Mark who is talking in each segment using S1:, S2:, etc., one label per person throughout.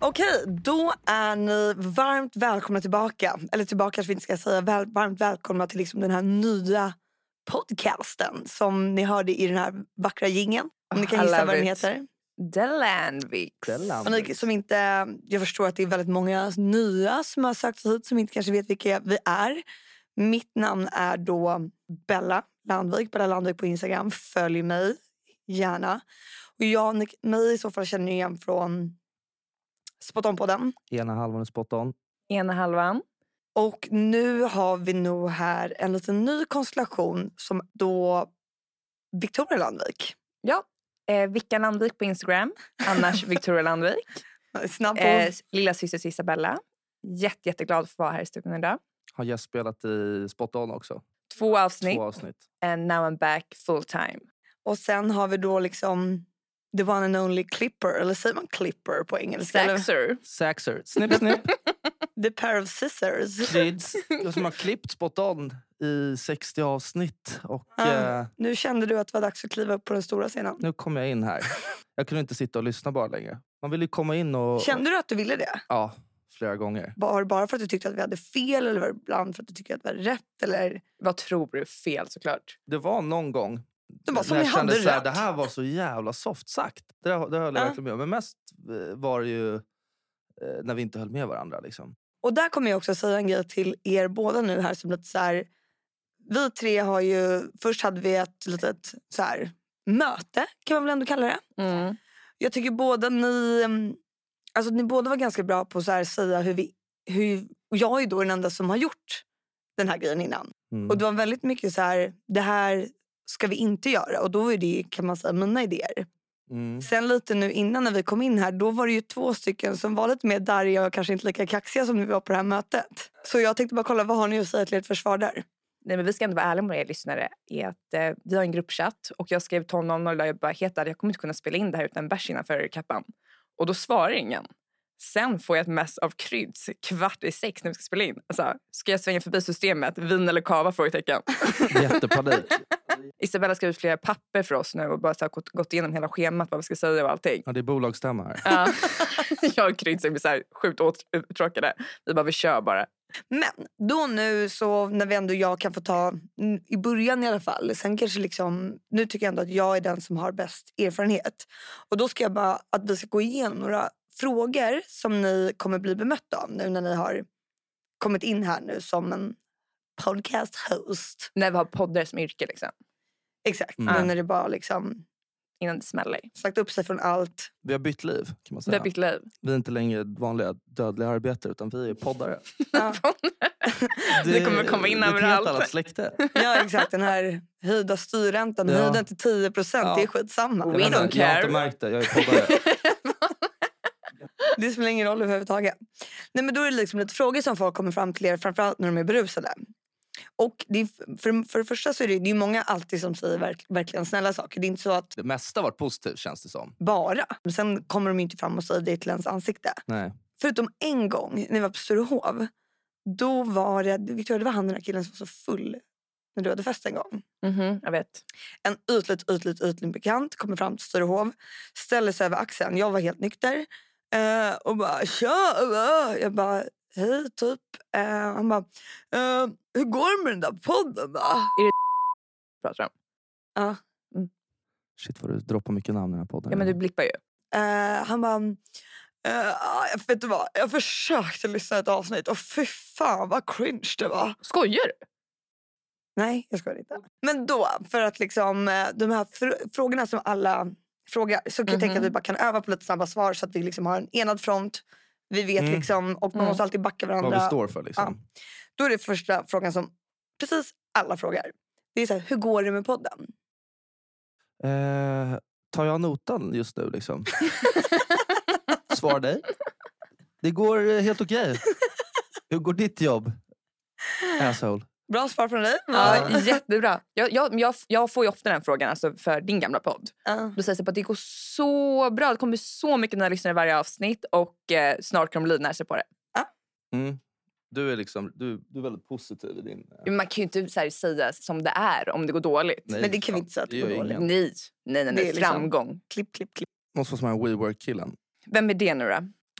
S1: Okej, då är ni varmt välkomna tillbaka. Eller tillbaka kanske vi inte ska säga. Väl, varmt välkomna till liksom den här nya podcasten som ni hörde i den här vackra gingen. Om ni kan
S2: I
S1: gissa
S2: love
S1: vad den
S2: it.
S1: heter.
S2: Delanviks.
S1: Och
S3: Delanviks.
S1: ni som inte, jag förstår att det är väldigt många nya som har sökt sig hit som inte kanske vet vilka vi är. Mitt namn är då Bella Landvik, Bella Landvik på Instagram. Följ mig gärna. Och jag, ni, mig i så fall känner ni igen från Spot on-podden.
S3: Ena halvan är spot on.
S2: Ena halvan.
S1: Och nu har vi nog här en liten ny konstellation som då Victoria Landvik.
S2: Eh, Vickan Landvik på Instagram. Annars Victoria Landvik.
S1: Snabb på.
S2: Eh, lilla systers Isabella. Jätte, jätteglad för att vara här i studion idag.
S3: Har gästspelat i spot on också.
S2: Två avsnitt.
S3: Två avsnitt.
S2: And now I'm back full time.
S1: Och sen har vi då liksom the one and only clipper, eller säger man clipper på engelska? Eller,
S2: Saxer.
S3: Saxer. Snipp, snipp.
S1: the pair of scissors.
S3: Kids. Jag som har klippt spot on i 60 avsnitt. Och
S1: Ja.
S3: eh,
S1: Nu kände du att det var dags att kliva upp på den stora scenen.
S3: nu kommer jag in här. Jag kunde inte sitta och lyssna bara längre. Man vill ju komma in och...
S1: Kände du att du ville det?
S3: Ja, flera gånger.
S1: Var det bara för att du tyckte att vi hade fel eller var det ibland för att du tyckte att vi hade rätt? Eller?
S2: Vad tror du? Fel såklart.
S3: Det var någon gång
S1: Det var som
S3: när
S1: vi
S3: jag kände
S1: hade Ah.
S3: så här,
S1: rätt.
S3: det här var så jävla soft sagt. Det, där- det höll jag
S1: Ja.
S3: verkligen med om. Men mest eh, var det ju eh, när vi inte höll med varandra. Liksom.
S1: Och där kommer jag också säga en grej till er båda nu här som lite så här. Vi tre har ju, först hade vi ett litet så här, möte kan man väl ändå kalla det.
S2: Mm.
S1: Jag tycker båda ni, mm, alltså ni båda var ganska bra på att så här, säga hur vi, hur, och jag är ju då den enda som har gjort den här grejen innan.
S3: Mm.
S1: Och det var väldigt mycket så här, det här ska vi inte göra. Och då är det kan man säga mina idéer.
S3: Mm.
S1: Sen lite nu innan när vi kom in här, då var det ju två stycken som var lite mer darriga och kanske inte lika kaxiga som vi var på det här mötet. Så jag tänkte bara kolla, vad har ni att säga till ert försvar där?
S2: Nej, men vi ska ändå vara ärliga med er lyssnare. Är att, eh, vi har en gruppchatt och jag skrev till honom och jag bara heter jag kommer inte kunna spela in det här utan bärs innanför kappan. Och då svarar ingen. Sen får jag ett mess av kryds kvart i sex när vi ska spela in. Alltså, ska jag svänga förbi systemet? Vin eller kava? Frågetecken.
S3: Jättepanik.
S2: Isabella har skrivit flera papper för oss nu och bara så här, gått, gått igenom hela schemat vad vi ska säga och allting.
S3: Ja, det är bolagsstämma här.
S2: Ja. jag och Kryds är så här sjukt uttråkade. Vi bara, vi kör bara.
S1: Men då nu så när vi ändå jag kan få ta, mm, i början i alla fall, sen kanske liksom, nu tycker jag ändå att jag är den som har bäst erfarenhet. Och då ska jag bara att vi ska gå igenom några frågor som ni kommer bli bemötta av nu när ni har kommit in här nu som en podcast host.
S2: När vi har poddar som yrke liksom.
S1: Exakt,
S3: Mm.
S1: nu när det bara liksom
S2: Innan det smäller.
S1: sagt upp sig från allt.
S3: Vi har bytt liv kan man
S2: Vi
S3: säga.
S2: har bytt liv.
S3: Vi är inte längre vanliga dödliga arbetare utan vi är poddare.
S1: Ja,
S2: Vi kommer komma in
S3: det är ett helt
S2: överallt.
S3: annat släkte.
S1: ja exakt, den här höjda styrräntan,
S3: Ja.
S1: höj den till 10 procent,
S3: Ja.
S1: det är skitsamma. Alltså,
S2: We don't
S3: jag har inte
S2: care.
S3: märkt det, jag är poddare.
S1: Det spelar ingen roll överhuvudtaget. Nej, men då är det liksom lite frågor som folk kommer fram till er, framförallt när de är berusade. Och det är, för, för det första så är det, det är ju många alltid som säger verk, verkligen snälla saker. Det är inte så att
S3: Det mesta har varit positivt känns det som.
S1: bara. Men sen kommer de ju inte fram och säger det till ens ansikte.
S3: Nej.
S1: Förutom en gång när vi var på Sturehov. Då var det, Victoria, det var han den där killen som var så full när du hade fest en gång.
S2: Mhm, jag vet.
S1: En ytligt, ytligt, ytligt bekant kommer fram till Sturehov, ställer sig över axeln. Jag var helt nykter eh, och bara tja! eh." Jag bara hej, typ. Eh, han bara eh, hur går det med den där podden då?
S2: Pratar om.
S3: Shit vad du droppar mycket namn i den här podden.
S2: Ja, men du blippar ju.
S1: Eh, han bara eh, ah, jag vet inte vad, jag försökte lyssna ett avsnitt och fy fan vad cringe det var.
S2: Skojar du?
S1: Nej, jag skojar inte. Men då, för att liksom eh, de här fr- frågorna som alla frågar så kan jag tänka
S2: Mhm.
S1: att vi bara kan öva på lite snabba svar så att vi liksom har en enad front. Vi vet
S3: Mm.
S1: liksom och man
S2: Mm.
S1: måste alltid backa varandra.
S3: Vad vi står för liksom.
S1: Då är det första frågan som precis alla frågar. Det är så här, hur går det med podden?
S3: Eh, tar jag notan just nu liksom? Svar dig. Det går eh, helt okej. Hur går ditt jobb? Asshole.
S1: Bra svar från dig.
S2: Ja, jättebra. Jag, jag, jag, jag får ju ofta den frågan alltså, för din gamla podd.
S1: Ja.
S2: Då sägs det bara att det går så bra. Det kommer så mycket nya lyssnare i varje avsnitt och eh, snart kommer de livnära sig på det.
S3: Mm. Du, är liksom, du, du är väldigt positiv i din... eh,
S2: Men Man kan ju inte så här, säga som det är om det går dåligt.
S3: nej,
S1: men det kan vi
S3: fan,
S1: inte säga att det
S3: gör
S1: går
S3: ju
S1: dåligt.
S3: ingen.
S2: Nej, nej, nej.
S1: Det är
S2: nej.
S1: liksom-
S2: Framgång.
S1: Klipp, klipp, klipp.
S3: Måste vara som den här WeWork-killen.
S2: Vem är det nu då?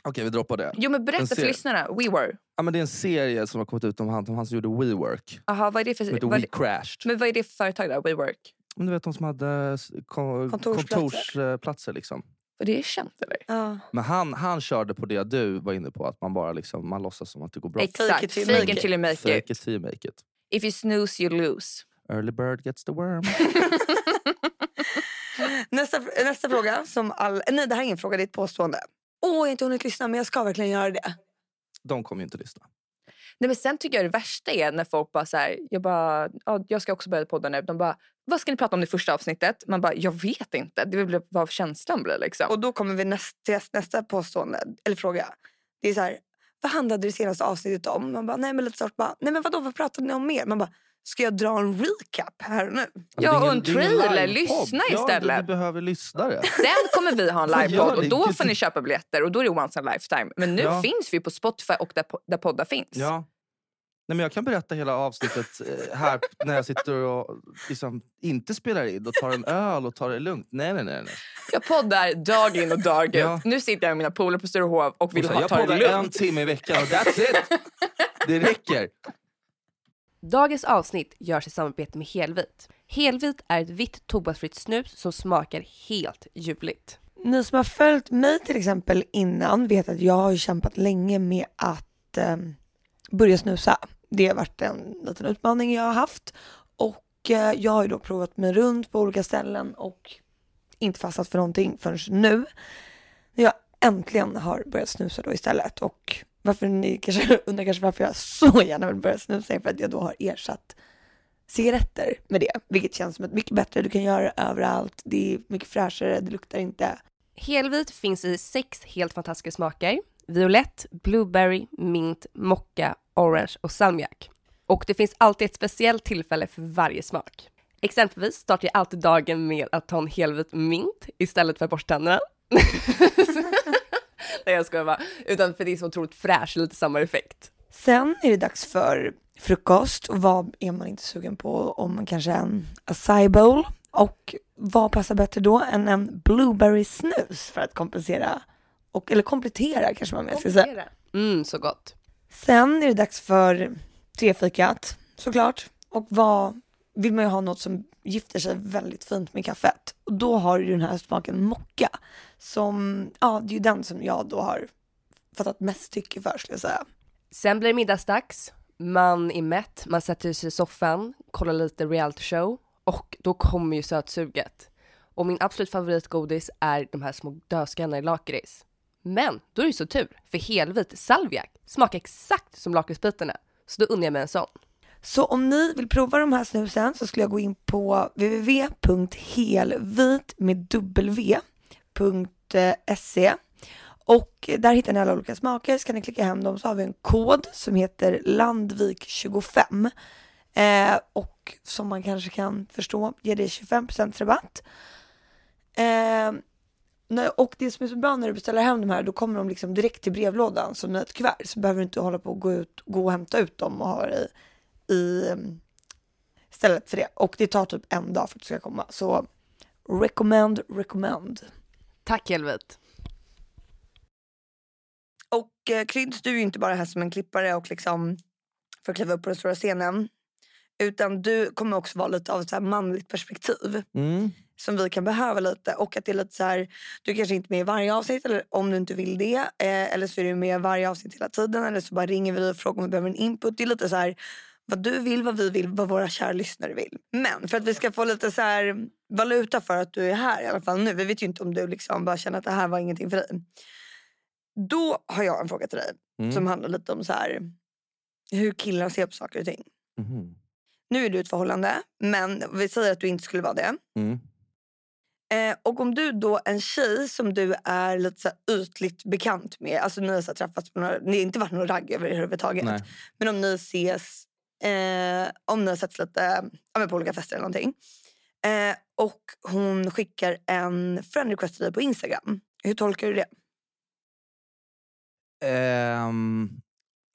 S3: Okej, vi droppar det.
S2: Jo, men berätta för
S3: ser.
S2: lyssnarna. We were.
S3: Ja, men det är en serie som har kommit ut om han, om han som gjorde WeWork.
S2: Aha, vad är det för...
S3: Som heter
S2: vad är
S3: We
S2: det,
S3: Crashed.
S2: men vad är det för företag då? WeWork?
S3: Men du vet de som hade s- ko-
S1: Kontorsplatser.
S3: kontorsplatser. Liksom.
S2: Och det är känt, eller?
S1: Ja.
S3: Men han, han körde på det du var inne på, att man bara liksom, man låtsas som att det går bra.
S1: Fake it
S2: Exakt.
S1: till you
S2: Fake
S1: make
S2: it
S1: it.
S2: till you make
S3: Fake
S2: it.
S3: it till you make it.
S2: If you snooze you lose.
S3: Early bird gets the worm.
S1: Nästa, nästa fråga. Som all, nej, det här är ingen fråga, det är ett påstående. Åh, jag har inte hunnit lyssna men jag ska verkligen göra det.
S3: De kommer ju inte lyssna.
S2: Nej, men sen tycker jag det värsta är när folk bara så här, jag bara, ja, jag ska också börja podda nu. De bara, vad ska ni prata om i första avsnittet? Man bara, jag vet inte. Det blir vad känslan blir liksom.
S1: Och då kommer vi näst, till nästa påstående, eller fråga. Det är så här, vad handlade det senaste avsnittet om? Man bara, nej men lite snart bara, nej men vadå, vad pratade ni om mer? Man bara, ska jag dra en recap här och nu?
S2: Ja,
S3: Alltså, det är
S2: och en
S3: det är ingen
S2: trailer.
S3: livepodd.
S2: Lyssna
S3: Ja, du,
S2: istället.
S3: du behöver lyssnare.
S2: Sen kommer vi ha en
S3: Vad
S2: livepodd
S3: gör
S2: och
S3: ni?
S2: då får ni köpa biljetter och då är det once in a lifetime. Men nu
S3: Ja.
S2: finns vi på Spotify och där, po- där poddar finns.
S3: Ja. Nej, men jag kan berätta hela avsnittet eh, här när jag sitter och liksom inte spelar in och tar en öl och tar det lugnt. Nej, nej, nej. nej.
S2: Jag poddar dag in och dag ut.
S3: Ja.
S2: Nu sitter jag med mina polare på Sturehof och vill
S3: Och så,
S2: ha,
S3: jag
S2: ta det
S3: poddar en
S2: lugnt.
S3: timme i veckan och that's it. Det räcker.
S4: Dagens avsnitt görs i samarbete med Helvit. Helvit är ett vitt tobaksfritt snus som smakar helt ljuvligt.
S1: Ni som har följt mig till exempel innan vet att jag har ju kämpat länge med att ehm, börja snusa. Det har varit en liten utmaning jag har haft och eh, jag har ju då provat mig runt på olika ställen och inte fastnat för någonting förrän nu. När jag äntligen har börjat snusa då istället och varför ni kanske undrar kanske varför jag så gärna vill börja snusa är för att jag då har ersatt cigaretter med det, vilket känns som ett mycket bättre. Du kan göra det överallt. Det är mycket fräschare. Det luktar inte
S4: Helvit finns i sex helt fantastiska smaker. Violett, blueberry, mint, mocka, orange och salmiak. Och det finns alltid ett speciellt tillfälle för varje smak. Exempelvis startar jag alltid dagen med att ta en helvit mint istället för att borsta tänderna. Nej jag skojar bara. Utan för det är så otroligt fräscht, lite samma effekt.
S1: Sen är det dags för frukost. Och Vad är man inte sugen på om man kanske är en acai bowl? Och vad passar bättre då än en blueberry snus för att kompensera? Och, eller komplettera kanske man mer ska säga.
S4: Mm, så gott.
S1: Sen är det dags för tefikat såklart. Och vad vill man ju ha något som gifter sig väldigt fint med kaffet. Och då har du den här smaken mocka. Som, ja det är ju den som jag då har fattat mest tycke för skulle jag säga.
S4: Sen blir det middagsdags, man är mätt, man sätter sig i soffan, kollar lite realityshow och då kommer ju sötsuget. Och min absolut favoritgodis är de här små dödskallarna i lakrits. Men då är det ju så tur, för helvit salviak smakar exakt som lakritsbitarna. Så då undrar jag mig en sån.
S1: Så om ni vill prova de här snusen så skulle jag gå in på www.helvit med w.se E. och där hittar ni alla olika smaker. Så kan ni klicka hem dem så har vi en kod som heter Landvik25 eh, och som man kanske kan förstå ger dig 25% rabatt. Eh, Nej, och det som är så bra när du beställer hem de här, då kommer de liksom direkt till brevlådan som ett kuvert. Så behöver du inte hålla på och gå, ut, gå och hämta ut dem och ha det i, i mm, stället för det. Och det tar typ en dag för att det ska komma. Så recommend, recommend.
S4: Tack helvit.
S1: Och eh, Kryds, du är ju inte bara här som en klippare och liksom för att kliva upp på den stora scenen. Utan du kommer också vara lite av ett så här manligt perspektiv.
S3: Mm.
S1: som vi kan behöva lite. Och att det är lite så här, du kanske inte är med i varje avsnitt eller om du inte vill det. Eh, eller så är du med i varje avsnitt hela tiden. Eller så bara ringer vi och frågar om vi behöver en input. Det är lite så här, vad du vill, vad vi vill, vad våra kära lyssnare vill. Men för att vi ska få lite så här valuta för att du är här i alla fall nu. Vi vet ju inte om du liksom bara känner att det här var ingenting för dig. Då har jag en fråga till dig
S3: Mm.
S1: som handlar lite om så här, hur killar ser på saker och ting.
S3: Mhm.
S1: Nu är du i ett förhållande, men vi säger att du inte skulle vara det.
S3: Mm.
S1: Eh, och om du då en tjej som du är lite så här ytligt bekant med, alltså ni har så här träffats på några, ni har inte varit någon ragg överhuvudtaget.
S3: Nej.
S1: Men om ni ses, eh, om ni har setts lite ja, men på olika fester eller någonting. Eh, och hon skickar en friend request till dig på Instagram. Hur tolkar du det?
S3: Ehm,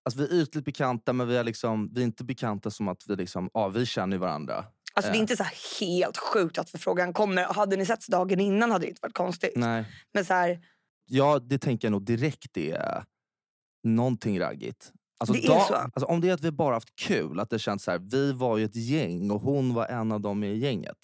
S3: alltså vi är ytligt bekanta, men vi är, liksom, vi är inte bekanta som att vi liksom, ah, vi känner ju varandra.
S1: Alltså det
S3: Eh.
S1: är inte så här helt sjukt att förfrågan kommer. Hade ni setts dagen innan hade det inte varit konstigt.
S3: Nej.
S1: Men så här,
S3: ja, det tänker jag nog direkt är någonting raggigt. Alltså,
S1: Det är
S3: da-
S1: så.
S3: Alltså, om det är att vi bara haft kul, att det känns så här, vi var ju ett gäng och hon var en av dem i gänget.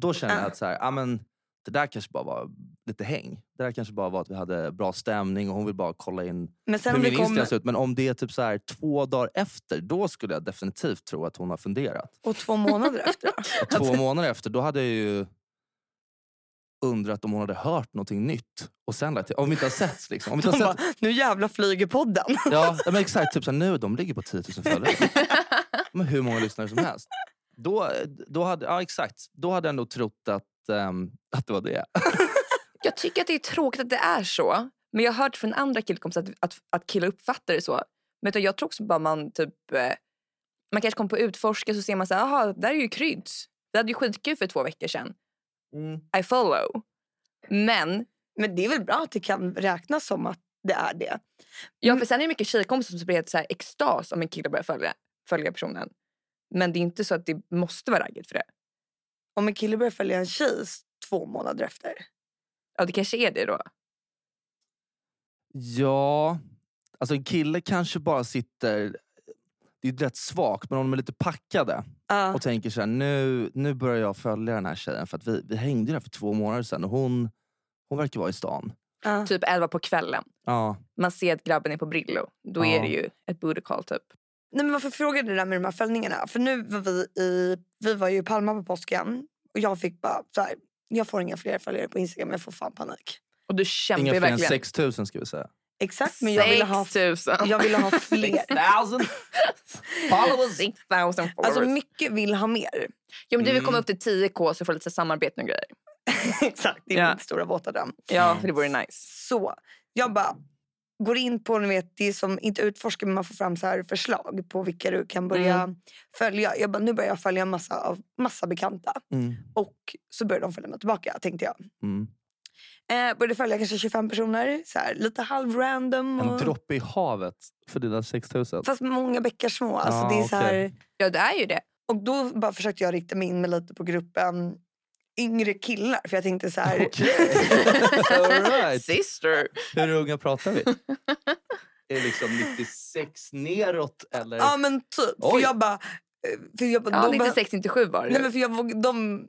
S3: Då känner jag
S1: Ja.
S3: att så här, ah, men, det där kanske bara var lite häng. Det där kanske bara var att vi hade bra stämning och hon vill bara kolla in
S1: Men sen
S3: hur
S1: om
S3: min
S1: det
S3: Instagram
S1: kommer...
S3: ser ut. Men om det är typ så här, två dagar efter, då skulle jag definitivt tro att hon har funderat.
S1: Och två månader efter då?
S3: Och två månader efter, då hade jag ju undrat om hon hade hört någonting nytt. Och sen lagt till, om vi inte har setts liksom. Om vi inte
S1: De
S3: har
S1: bara,
S3: setts,
S1: nu jävla flyger podden.
S3: ja, ja, men exakt, typ så här, nu de ligger på 10 000 följare. Men hur många lyssnare som helst. Då, då, hade, ja, exakt. då hade jag nog trott att, ehm, att det var det.
S2: Jag tycker att det är tråkigt att det är så. Men jag har hört från andra killkompisar att, att, att killar uppfattar det så. Men vet du, jag tror också bara man typ... eh, Man kanske kommer på utforska så ser man så här, aha, det där är ju kryds. Vi hade ju skitkul för två veckor sedan. I follow. Men,
S1: Men det är väl bra att det kan räknas som att det är det. Mm.
S2: ja för sen är det mycket tjejkompisar som blir helt så här extas om en kille börjar följa, följa personen. Men det är inte så att det måste vara raggigt för det.
S1: Om en kille börjar följa en tjej s- två månader efter.
S2: Ja, det kanske är det då.
S3: Ja, alltså en kille kanske bara sitter... Det är ju rätt svagt, men om de är lite packade.
S1: Ja.
S3: och tänker så här, nu, nu börjar jag följa den här tjejen för att vi, vi hängde ju där för två månader sedan och hon, hon verkar vara i stan.
S4: Mm.
S1: ja.
S2: Typ elva på kvällen.
S3: Ja.
S2: Man ser att grabben är på Brillo. Då
S3: Ja.
S2: är det ju ett booty call typ.
S1: Nej, men varför frågade du det där med de här fällningarna? För nu var vi i, vi var ju i Palma på påsken och jag fick bara så här, jag får inga fler följare på Instagram, jag får fan panik.
S2: Och du kämpar
S3: Inga
S2: ju
S3: fler än
S2: verkligen.
S3: 6000 ska vi säga.
S1: Exakt, men jag ville ha,
S2: 6000.
S1: jag ville ha fler.
S3: 6000 followers!
S2: 6000 followers.
S1: Alltså mycket vill ha mer.
S2: ja, men du vill komma
S3: Mm.
S2: upp till 10k så får lite samarbete och grejer.
S1: Exakt, det är
S2: Ja.
S1: min stora våta dröm.
S2: Ja, för det vore nice.
S1: Så jag bara går in på, ni vet, det är som, inte utforskar men man får fram så här förslag på vilka du kan börja
S3: Mm.
S1: följa. Jag bara, nu börjar jag följa en massa, av, massa bekanta.
S3: Mm,
S1: Och så börjar de följa mig tillbaka tänkte jag.
S3: mm.
S1: Eh, började följa kanske 25 personer, så här, lite halv random.
S3: En
S1: Och,
S3: droppe i havet för dina 6000.
S1: Mm. fast många bäckar små. Alltså,
S3: Ah,
S1: det är så här,
S3: okej.
S2: Ja, det är ju det.
S1: och då bara försökte jag rikta mig in mig lite på gruppen yngre killar. För jag tänkte så här,
S3: Okej. All right.
S2: Sister.
S3: Hur unga pratar vi? Är det liksom 96 neråt eller?
S1: ja men typ. För
S3: Oj.
S1: jag bara, eh, för jag bara,
S2: Ja,
S1: de bara
S2: 96, 97 var det.
S1: Nej, men för jag, våg- de,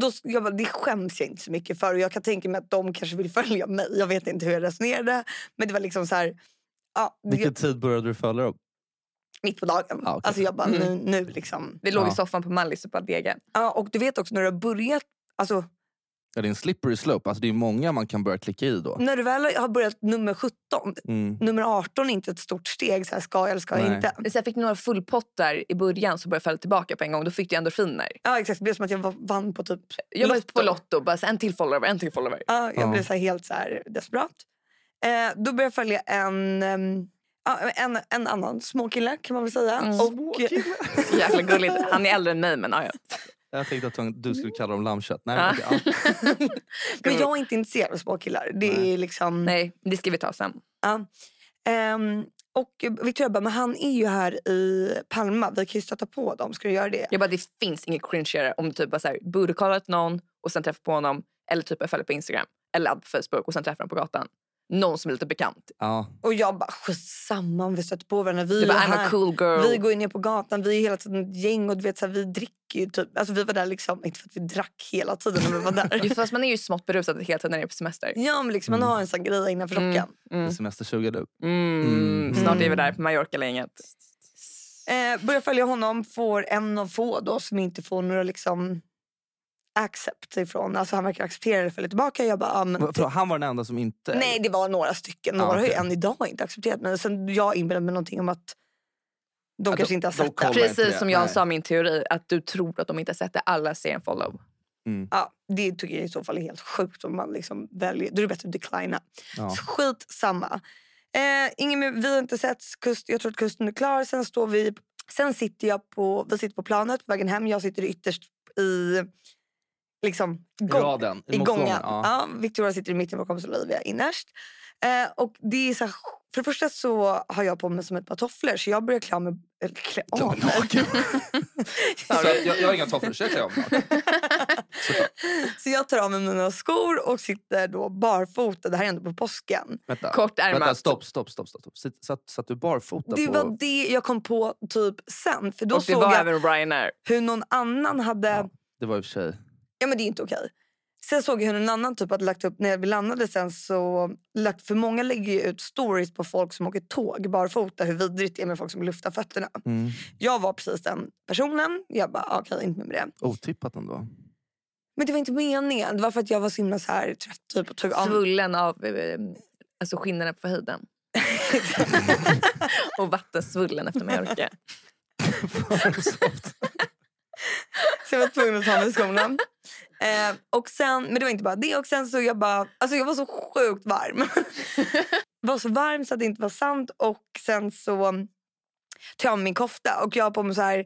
S1: då, jag bara, det skäms jag inte så mycket för. Och jag kan tänka mig att de kanske vill följa mig. Jag vet inte hur jag resonerade. Men det var liksom så här... Ja, det-
S3: Vilken tid började du följa dem?
S1: mitt på dagen.
S3: Ja, okej.
S1: Alltså jag bara,
S2: Mm.
S1: nu, nu liksom.
S2: Vi låg
S3: Ja.
S2: i soffan på Mallis och bara dega.
S1: Ja, och du vet också när du har börjat... Alltså,
S3: Ja, det är en slippery slope. Alltså, det är många man kan börja klicka i då.
S1: när du väl har börjat nummer 17,
S3: Mm.
S1: nummer 18 är inte ett stort steg. Så här, ska jag eller ska
S3: Nej.
S1: jag inte?
S2: Sen fick du några fullpottar i början som började falla tillbaka på en gång. Då fick du endorfiner.
S1: Ja, exakt. Det blev som att jag var- vann på typ...
S2: Jag var
S1: Lotto.
S2: på Lotto bara så en till follower, en till follower.
S1: Ja, jag
S3: Ja.
S1: blev så här helt så här desperat. Eh, då började jag följa en, ehm, ja, en, en annan småkille kan man väl säga.
S2: Mm.
S1: Och,
S2: Så Jäkla gulligt. Han är äldre än mig men ja, ja.
S3: Jag tänkte att du skulle kalla dem lammkött. Nej,
S2: Ja.
S3: men okej, ja.
S1: men jag är inte intresserad av småkillar. Det
S3: Nej.
S1: är liksom...
S2: Nej, det ska vi ta sen.
S1: Ehm, och Victoria bara, men han är ju här i Palma. Vi kan ju stöta på dem. Ska du göra det?
S2: Jag bara, det finns inget cringeigare om du typ bara så här, bootycallat någon och sen träffar på honom. Eller typ jag följer på Instagram eller add på Facebook och sen träffar dem på gatan. Någon som är lite bekant.
S3: Ja.
S1: Och jag bara, skitsamma om vi stöter på varandra. Vi
S2: Du
S1: är
S2: bara, I'm a
S1: här.
S2: cool girl.
S1: Vi går ju ner på gatan, vi är hela tiden ett gäng och du vet, så här, vi dricker ju typ. Alltså vi var där liksom, inte för att vi drack hela tiden när vi var där.
S2: Just fast man är ju smått berusad hela tiden när det är på semester.
S1: ja men liksom,
S3: Mm.
S1: man har en sån grej innanför
S2: Mm.
S1: dockan.
S3: Det är
S2: Mm.
S3: Semestersuga du. Mm.
S2: Mm. Snart är vi där på Mallorca-länget.
S1: Eh, börjar följa honom, får en av få då som inte får några liksom accept ifrån. Alltså han verkar acceptera det och följa tillbaka. Jag bara, ah, men,
S3: Va- förlåt, Han var den enda som inte...
S1: nej det var några stycken. Några
S3: Ah,
S1: har ju
S3: okej.
S1: än idag inte accepterat mig. Sen jag inbillade mig någonting om att de
S3: Ja,
S1: kanske
S3: de-
S1: inte har
S3: de
S1: sett
S3: kollar
S1: det.
S3: inte det,
S2: Precis som jag
S3: nej.
S2: sa min teori att du tror att de inte har sett det. Alla ser en follow.
S3: Mm,
S1: Ja, det tycker jag i så fall är helt sjukt om man liksom väljer. Då är det bättre att declina.
S3: Ja.
S1: Så Skit samma. Eh, ingen, mer- vi har inte sett kust, jag tror att kusten är klar. Sen står vi, sen sitter jag på, vi sitter på planet på vägen hem. Jag sitter ytterst i liksom gång,
S3: Raden.
S1: i
S3: mot
S1: gången. Ja.
S3: Ja.
S1: Victoria sitter i mitten, vår kompis Olivia innerst. Eh, och det är så här, för det första så har jag på mig som ett par tofflor så jag börjar klä av mig. eller Klä av mig.
S3: Så jag, jag har inga tofflor, så jag klär om. Såklart.
S1: Så jag tar av mig mina skor och sitter då barfota. Det här hände på påsken.
S3: Vänta. Vänta,
S2: Kortärmat.
S3: stopp, stopp, stopp. stopp. stopp. Sitt- Satt, satt du barfota
S1: Det
S3: på...
S1: var det jag kom på typ sen. För då
S2: Och det
S1: såg
S2: var
S1: jag
S2: även Ryanair.
S1: hur någon annan hade...
S3: Ja.
S1: Ja.
S3: Det var i och för sig...
S1: men det är inte okej. Sen såg jag hur någon annan typ hade lagt upp, när vi landade sen så... Lagt, för många lägger ju ut stories på folk som åker tåg barfota. Hur vidrigt det är med folk som luftar fötterna.
S3: Mm.
S1: Jag var precis den personen. Jag bara, "Ah, okej, inte med det.
S3: Otippat ändå.
S1: Men det var inte meningen. Det var för att jag var så himla så här trött typ, och tog av
S2: Svullen av eh, alltså skinnorna på höjden. och vattensvullen efter Mallorca.
S1: Så jag var tvungen att ta med skorna. Eh, och sen, men det var inte bara det. Och sen så jag bara, alltså jag var så sjukt varm. var så varm så att det inte var sant. Och sen så tar jag av mig min kofta och jag har på mig så här.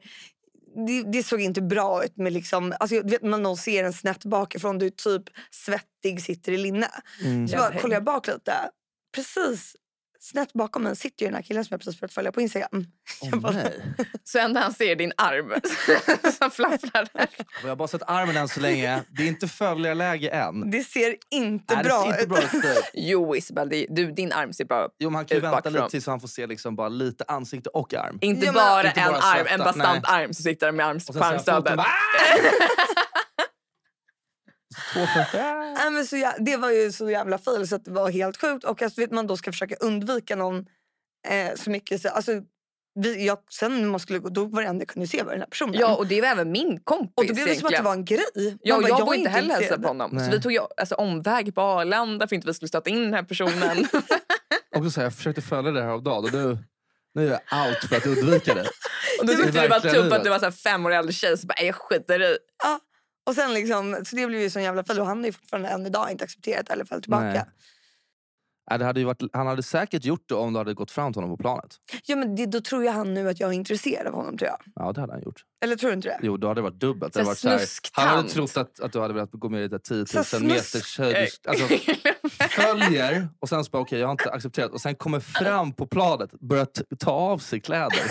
S1: Det, det såg inte bra ut med liksom, alltså du vet när någon ser en snett bakifrån, du är typ svettig, sitter i linne.
S3: Mm.
S1: Så
S2: Jävla
S1: bara kollar jag bak lite. Precis snett bakom mig sitter ju den här killen som jag precis börjat följa på Instagram.
S3: Åh, nej.
S2: Så enda han ser är din arm som flaffrar. där.
S3: Jag har bara sett armen än så länge. Det är inte följarläge än.
S1: Det ser inte
S3: Nej,
S1: bra
S3: det ser
S1: ut.
S3: inte bra ut.
S2: Jo Isabel, det- du, din arm ser bra
S3: Jo, men han kan ju
S2: Ut
S3: vänta
S2: bakifrån.
S3: lite tills han får se liksom bara lite ansikte och arm.
S2: Inte
S1: Ja, men-
S2: bara
S3: Inte
S2: en
S3: bara
S2: arm, en
S3: svettas,
S2: bastant arm som sitter med arms,
S3: Och
S2: på
S3: sen ser han
S2: armstödet.
S3: foten, bara, "Ah!" Två fötter.
S1: Nej, men så jä- det var ju så jävla fel så att det var helt sjukt. Och alltså, vet man då ska försöka undvika någon eh, så mycket. Så, alltså, vi, jag, sen när man skulle gå, då var det enda jag kunde se var den här personen.
S2: Ja, och det var även min kompis.
S1: och då blev det som att det
S2: egentligen.
S1: var en grej. Man
S2: Ja,
S1: bara,
S2: jag,
S1: är
S2: var inte heller hälsa
S1: intresserad.
S2: på honom.
S3: Nej.
S2: Så vi tog ju, alltså, omväg på Arlanda för inte vi skulle stöta in den här personen.
S3: Också så här, jag försökte följa det här av dag och nu, nu är jag allt för att undvika det.
S2: och
S3: Det
S2: då
S3: är
S2: tyckte du det var
S3: verkligen
S2: tufft
S3: livet.
S2: att du var så här fem år äldre tjej. Så bara, "Nej, jag skiter i.
S1: Och sen liksom, så det blev ju sån jävla fel. Och han har ju fortfarande än idag inte accepterat eller fallit tillbaka.
S3: Nej. Nej, det hade ju varit, han hade säkert gjort det om du hade gått fram till honom på planet.
S1: Ja, men det, då tror ju han nu att jag är intresserad av honom tror jag.
S3: Ja, det hade han gjort.
S1: Eller tror du inte det?
S3: Jo, då hade det varit dubbelt. Det
S2: Så
S3: hade varit så här,
S2: snusktant.
S3: han hade trott att, att du hade velat gå med i det där 10
S1: Så
S3: 000 meters höjd. Alltså, följer och sen så bara okej, jag har inte accepterat. Och sen kommer fram på planet, börjar t- ta av sig kläder.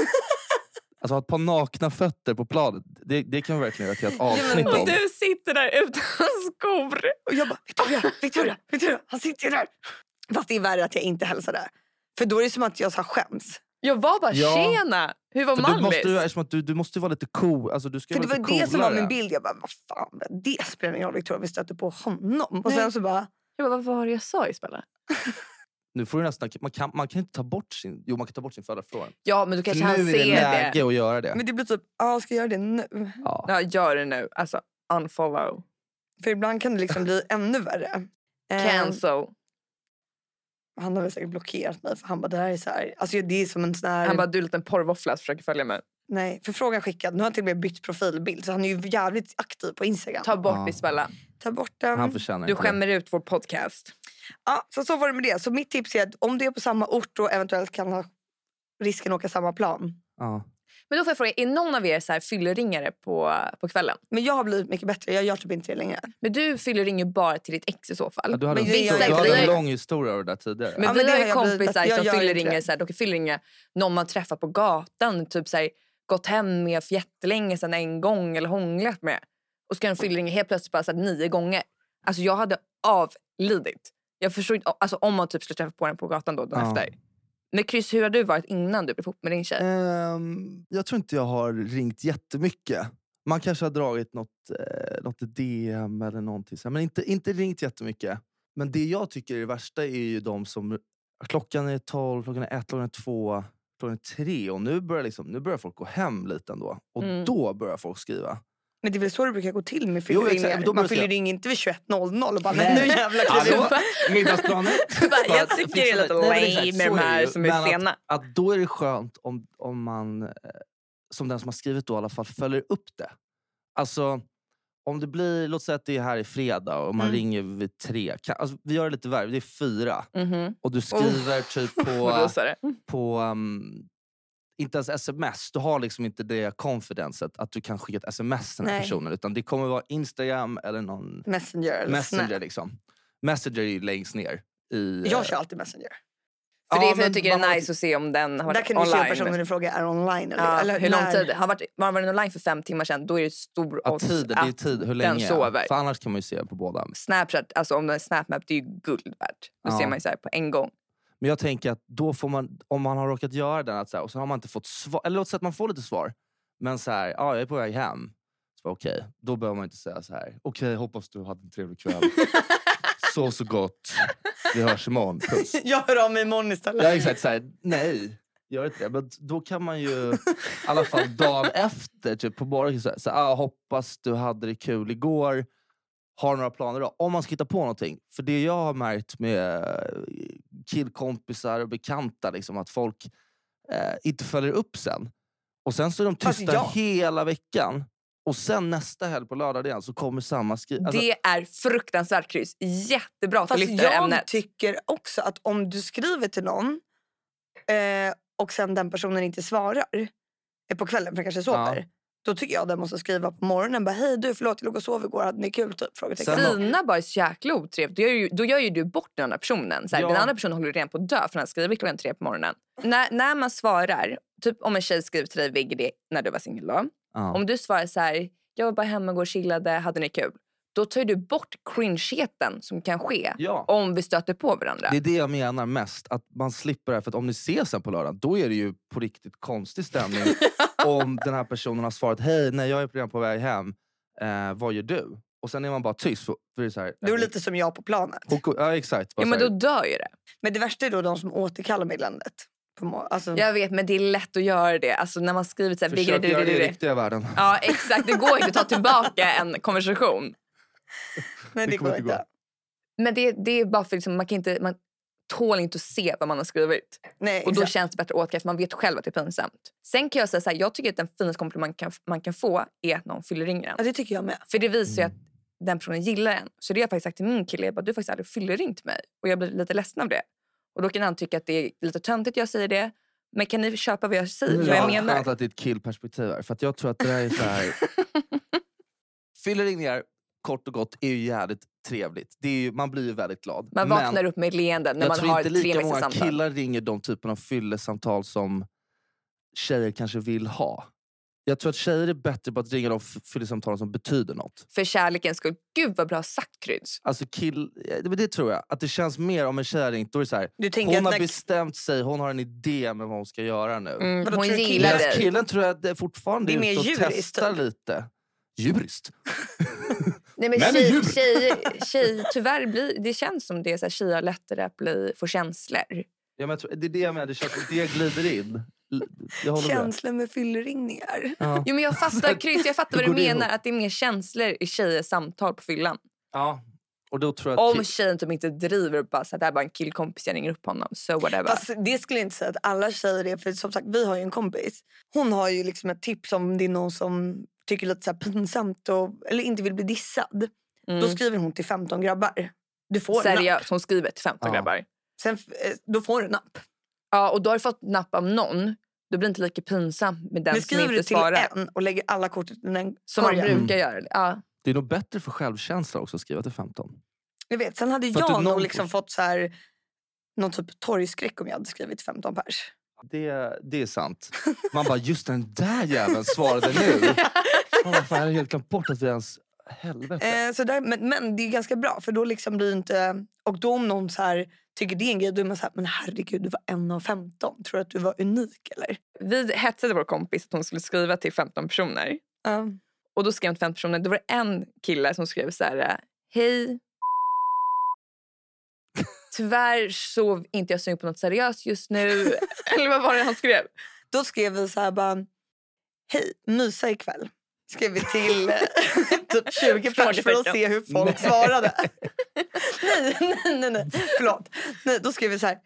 S3: Alltså ha ett par nakna fötter på planet. Det, det kan vi verkligen göra till ett avsnitt
S1: men-
S3: om.
S2: och du sitter där utan skor.
S1: Och jag bara, Victoria, Victoria, Victoria, han sitter ju där. Fast det är värre att jag inte hälsade. För då är det som att jag så här, skäms.
S2: Jag var bara,
S3: Ja.
S2: tjena! Hur var
S3: För du,
S2: Malmis?
S3: måste ju, eftersom att du, du måste ju vara lite cool. Alltså, du ska
S1: För
S3: ju
S1: det
S3: vara
S1: var
S3: lite
S1: det som var
S3: coolare.
S1: min bild. Jag bara, vad fan, det spelar ingen roll Victoria, vi stötte på honom. Och sen så bara,
S2: Jag bara, vad var det jag sa Isabella?
S3: Nu får du nästan, man, kan, man kan inte ta bort sin... Jo, man kan ta bort sin födelsedag.
S2: Ja, men då
S3: För
S2: kanske han
S3: nu är det
S2: ser det.
S3: läge att göra det.
S1: men det blir typ, ja ska jag göra det nu?
S3: Ja.
S2: Ja, gör det nu. Alltså, unfollow.
S1: För ibland kan det liksom bli ännu värre. Eh,
S2: Cancel.
S1: han har väl säkert blockerat mig för han bara, det här är så här, alltså det är som en sån här,
S2: Han bara, du är en liten porrvåffla som försöker följa mig.
S1: nej, förfrågan skickad. Nu har han till och med bytt profilbild så han är ju jävligt aktiv på Instagram.
S2: Ta
S1: Ta,
S2: bort
S3: Ja.
S2: Isabella.
S1: bort den.
S3: Han förtjänar
S2: Du
S3: inte det.
S2: skämmer ut vår podcast.
S1: Ja, så, så var det med det. Så mitt tips är att om det är på samma ort och eventuellt kan ha risken att åka samma plan.
S3: Ja.
S2: Men då får jag fråga, är någon av er så här fylleringare på, på kvällen?
S1: Men jag har blivit mycket bättre. Jag gör typ inte det längre.
S2: Men du fylleringer bara till ditt ex i så fall.
S3: Ja, Du hade,
S1: Men
S3: en,
S1: vissa
S3: stor- du hade
S2: grejer-
S3: en lång historia av det där tidigare.
S2: Men
S1: Ja,
S2: vi
S1: men det
S2: har
S1: har
S2: ju
S1: jag blivit
S2: kompisar
S1: bättre. Jag
S2: som
S1: gör inte
S2: fylleringer,
S1: det.
S2: så här, de kan fylleringa någon man träffar på gatan. Typ så här, gått hem med för jättelänge sedan en gång eller hånglat med. Och så kan de fylleringa helt plötsligt bara så här, nio gånger. Alltså jag hade avlidit. Jag förstår inte, alltså om man typ skulle träffa på den på gatan då dagen
S3: Ja.
S2: efter. Men Chris, hur har du varit innan du blev ihop med din tjej?
S3: Ehm, jag tror inte jag har ringt jättemycket. Man kanske har dragit något, eh, något DM eller någonting. så här, Men inte, inte ringt jättemycket. Men det jag tycker är det värsta är ju de som... Klockan är 12, klockan är ett, klockan är två, klockan är tre. Och nu börjar, liksom, nu börjar folk gå hem lite ändå. Och
S2: Mm.
S3: då börjar folk skriva.
S1: Men det är väl så det brukar gå till med
S3: Jo, exakt.
S1: fylleringar.
S3: Men då
S1: Man
S3: brukar-
S1: fyller ring inte vid 21.00 och bara
S3: Nej. Alltså,
S1: nej, nu jävlar kliver jag
S3: Hallå?
S1: upp.
S3: Middagsplaner?
S2: Bara, jag tycker det är lite
S3: liksom, Nej, men exakt,
S2: lame
S3: så
S2: med de
S3: är det
S2: här
S3: ju.
S2: som är
S3: Men
S2: sena.
S3: att- att då är det skönt om, om man, eh, som den som har skrivit då i alla fall, följer upp det. Alltså, om det blir, låt säga att det är här i fredag och man
S1: Mm.
S3: ringer vid tre. Kan, alltså, vi gör det lite värre, det är fyra.
S2: Mhm.
S3: Och du skriver typ
S2: Och
S3: på,
S2: då sa det.
S1: Mm.
S3: på um, inte ens sms. Du har liksom inte det confidenceet att du kan skicka ett sms till den här
S1: Nej.
S3: personen. Utan det kommer vara Instagram eller någon
S1: Messenger eller Snap.
S3: messenger. Liksom. Messenger är ju längst ner. I, eh,
S1: Jag kör alltid Messenger.
S2: För
S3: Ja,
S2: det är för
S3: men
S2: jag tycker det
S3: man
S2: är
S3: har-
S2: nice att se om den har
S1: Där
S2: varit
S1: kan du se om
S2: online.
S1: personen i fråga är online. Eller,
S2: Ja,
S1: eller
S2: hur lång
S1: när.
S2: tid? Har varit, har varit online för fem timmar sedan, då är det stor
S3: Ja,
S2: odds
S3: tid, det är ju
S2: att
S3: tid. Hur
S2: den
S3: länge?
S2: sover.
S3: För annars kan man ju se på båda.
S2: Snapchat, alltså om det är Snapmap, det är ju guld värt. Då
S3: Ja.
S2: ser man ju så här på en gång.
S3: Men jag tänker att då får man, om man har råkat göra den att så här, och så har man inte fått svar. Eller låt säga att man får lite svar. Men så här, ja, jag är på väg hem. Så bara, Okej, då behöver man inte säga så här. Okej, hoppas du hade en trevlig kväll. Sov så gott. Vi hörs imorgon. Puss.
S1: Jag hör av mig imorgon istället.
S3: Ja, exakt. Så här, nej, gör inte det. Men då kan man ju i alla fall dagen efter, typ på morgonen, så här, så här, ah, hoppas du hade det kul igår. Har du några planer idag? Om man ska hitta på någonting. För det jag har märkt med eh, killkompisar och bekanta, liksom, att folk eh, inte följer upp sen. Och sen så är de
S2: Alltså,
S1: Fast
S3: tysta
S1: jag-
S3: hela veckan. Och sen nästa helg på lördag igen så kommer samma skri... Alltså,
S2: det är fruktansvärt kryss. Jättebra att du
S1: Fast
S2: lyfter
S1: jag
S2: ämnet.
S1: tycker också att om du skriver till någon eh, och sen den personen inte svarar eh, på kvällen för den kanske sover.
S3: Ja.
S1: Då tycker jag den måste skriva på morgonen. Bara, Hej du, förlåt jag låg och sov igår. Hade ni kul? Typ, frågetecken.
S3: Sen-
S2: Sina bara är så jäkla otrevligt. Då gör, ju, då gör ju du bort den andra personen. Så här,
S3: Ja.
S2: Den andra personen håller ju redan på att dö för den skriver klockan tre på morgonen. När, när man svarar, typ om en tjej skriver till dig Vigge det när du var singel då.
S3: ja.
S2: Om du svarar så här, jag var bara hemma igår, chillade, hade ni kul? Då tar ju du bort cringeheten som kan ske
S3: ja.
S2: om vi stöter på varandra.
S3: Det är det jag menar mest. Att man slipper det här. För att om ni ses sen på lördagen, då är det ju på riktigt konstig stämning. om den här personen har svarat hej, nej jag är redan på väg hem. Eh, vad gör du? Och sen är man bara tyst. För, för det är så här,
S1: Du är lite som jag på planet.
S3: Hon ko- ja exakt. Bara
S2: Ja, men
S3: så
S2: då
S3: här,
S2: dör ju det.
S1: Men det värsta är då de som återkallar meddelandet. På mor- alltså,
S2: Jag vet, men det är lätt att göra det. Alltså när man skriver så här...
S3: Mm. Försök
S2: "Vigge, det-
S3: göra
S2: det-
S3: det i
S2: det- det."
S3: riktiga världen.
S2: Ja, exakt. Det går inte att ta tillbaka en konversation.
S1: nej, det,
S3: det kommer
S1: går
S3: inte
S1: inte.
S2: Men det, det är bara för liksom, man kan inte... Man, tål inte att se vad man har skrivit.
S1: Nej,
S2: Och då
S1: exakt.
S2: känns det bättre att återkalla för man vet själv att det är pinsamt. Sen kan jag säga så här, jag tycker att den finaste komplimang man kan, man kan få är att någon fyller ringen.
S3: Mm.
S1: ja, det tycker jag med.
S2: För det visar ju att den personen gillar en. Så det har jag faktiskt sagt till min kille. Jag bara, du har faktiskt aldrig fylleringt mig. Och jag blir lite ledsen av det. Och då kan han tycka att det är lite töntigt att jag säger det. Men kan ni köpa vad jag säger?
S3: Nu
S2: typ, Vad
S3: är
S2: jag
S3: det
S2: menar?
S3: Skönt att det är ett killperspektiv här. För att jag tror att det här är så här... Fylleringar, kort och gott, är ju jävligt trevligt. Det är ju, man blir ju väldigt glad.
S2: Man
S3: Men-
S2: vaknar upp med ett leende när
S3: jag
S2: man
S3: tror
S2: har
S3: inte
S2: ett
S3: lika
S2: trevligt
S3: många
S2: samtal.
S3: killar ringer de typen av fyllesamtal som tjejer kanske vill ha. Jag tror att tjejer är bättre på att ringa de f- fyllesamtalen som betyder något.
S2: För kärlekens skull. Gud vad bra sagt Kryds.
S3: Alltså kill, eh, men det tror jag. Att det känns mer om en tjej har ringt. Då är det så här,
S1: Du tänker
S3: hon
S1: att
S3: har
S1: när
S3: bestämt sig, hon har en idé med vad hon ska göra nu.
S2: Mm,
S1: Vadå,
S2: hon
S1: tror du
S2: gillar
S1: killar-
S3: Medan
S2: dig.
S3: killen tror jag att det fortfarande
S1: Det är
S3: är
S1: mer
S3: ute och
S1: djuriskt,
S3: testar
S1: typ.
S3: lite. Djuriskt?
S2: Nej, men
S3: Men
S2: tjej,
S3: djur!
S2: tjej, tjej, tyvärr blir, det känns som det är så här, tjejer har lättare att bli, få känslor.
S3: Ja, men jag tror, det är det jag menar, det känns som att det glider in. L- Jag håller med.
S1: Känslor med fylleringningar.
S3: Ja.
S2: Jo, men jag fattar, Chris, jag fattar
S3: Hur
S2: vad du
S3: går det
S2: menar.
S3: ihop?
S2: Att det är mer känslor i tjejers samtal på fyllan.
S3: ja. Och då tror jag att
S2: Om
S3: kill-
S2: tjejen typ inte driver och bara så här, det här är bara en killkompis, jag ringer upp honom. So whatever.
S1: Fast det skulle jag inte säga att alla tjejer är. För som sagt, vi har ju en kompis. Hon har ju liksom ett tips om det är någon som tycker lite så här pinsamt och, eller inte vill bli dissad.
S2: mm.
S1: Då skriver hon till 15 grabbar. Du får en app.
S2: Seriöst, hon skriver till 15
S3: Ja.
S2: grabbar.
S1: Sen, f- eh, då får du en app.
S2: Ja, och då har du fått napp av någon. Då blir det inte lika pinsamt med den
S1: Men
S2: som
S1: skriver du
S2: inte
S1: till
S2: svarar.
S1: en Mm. och lägger alla kort i den
S2: Som man
S1: korgen.
S2: brukar göra. Ja.
S3: Det är nog bättre för självkänsla också att skriva till 15.
S1: Jag vet, sen hade
S3: För att du
S1: jag nog
S3: någon-
S1: liksom fått så här, någon typ torgskräck om jag hade skrivit 15 pers.
S3: Det, det är sant. Man bara, just den där jäveln svarade nu. Man bara, fan, jag hade helt glömt bort att vi ens... Helvete.
S1: Eh, så där, men, men det är ganska bra för då liksom blir det inte... Och då om någon så här, tycker det är en grej då är man så här, men herregud du var en av 15. Tror du att du var unik eller?
S2: Vi hetsade vår kompis att hon skulle skriva till 15 personer.
S1: Ja.
S2: Och då skrev hon till 15 personer. Då var det en kille som skrev så här. Hej. Tyvärr sov inte jag sugen på något seriöst just nu. Eller vad var det han skrev?
S1: Då skrev vi så här bara, hej, mysa ikväll. Skrev vi till eh, typ 20 pers för att
S2: Frågetecken.
S1: se hur folk
S3: Nej.
S1: svarade. nej, nej, nej, nej, förlåt. Nej, då skrev vi så här,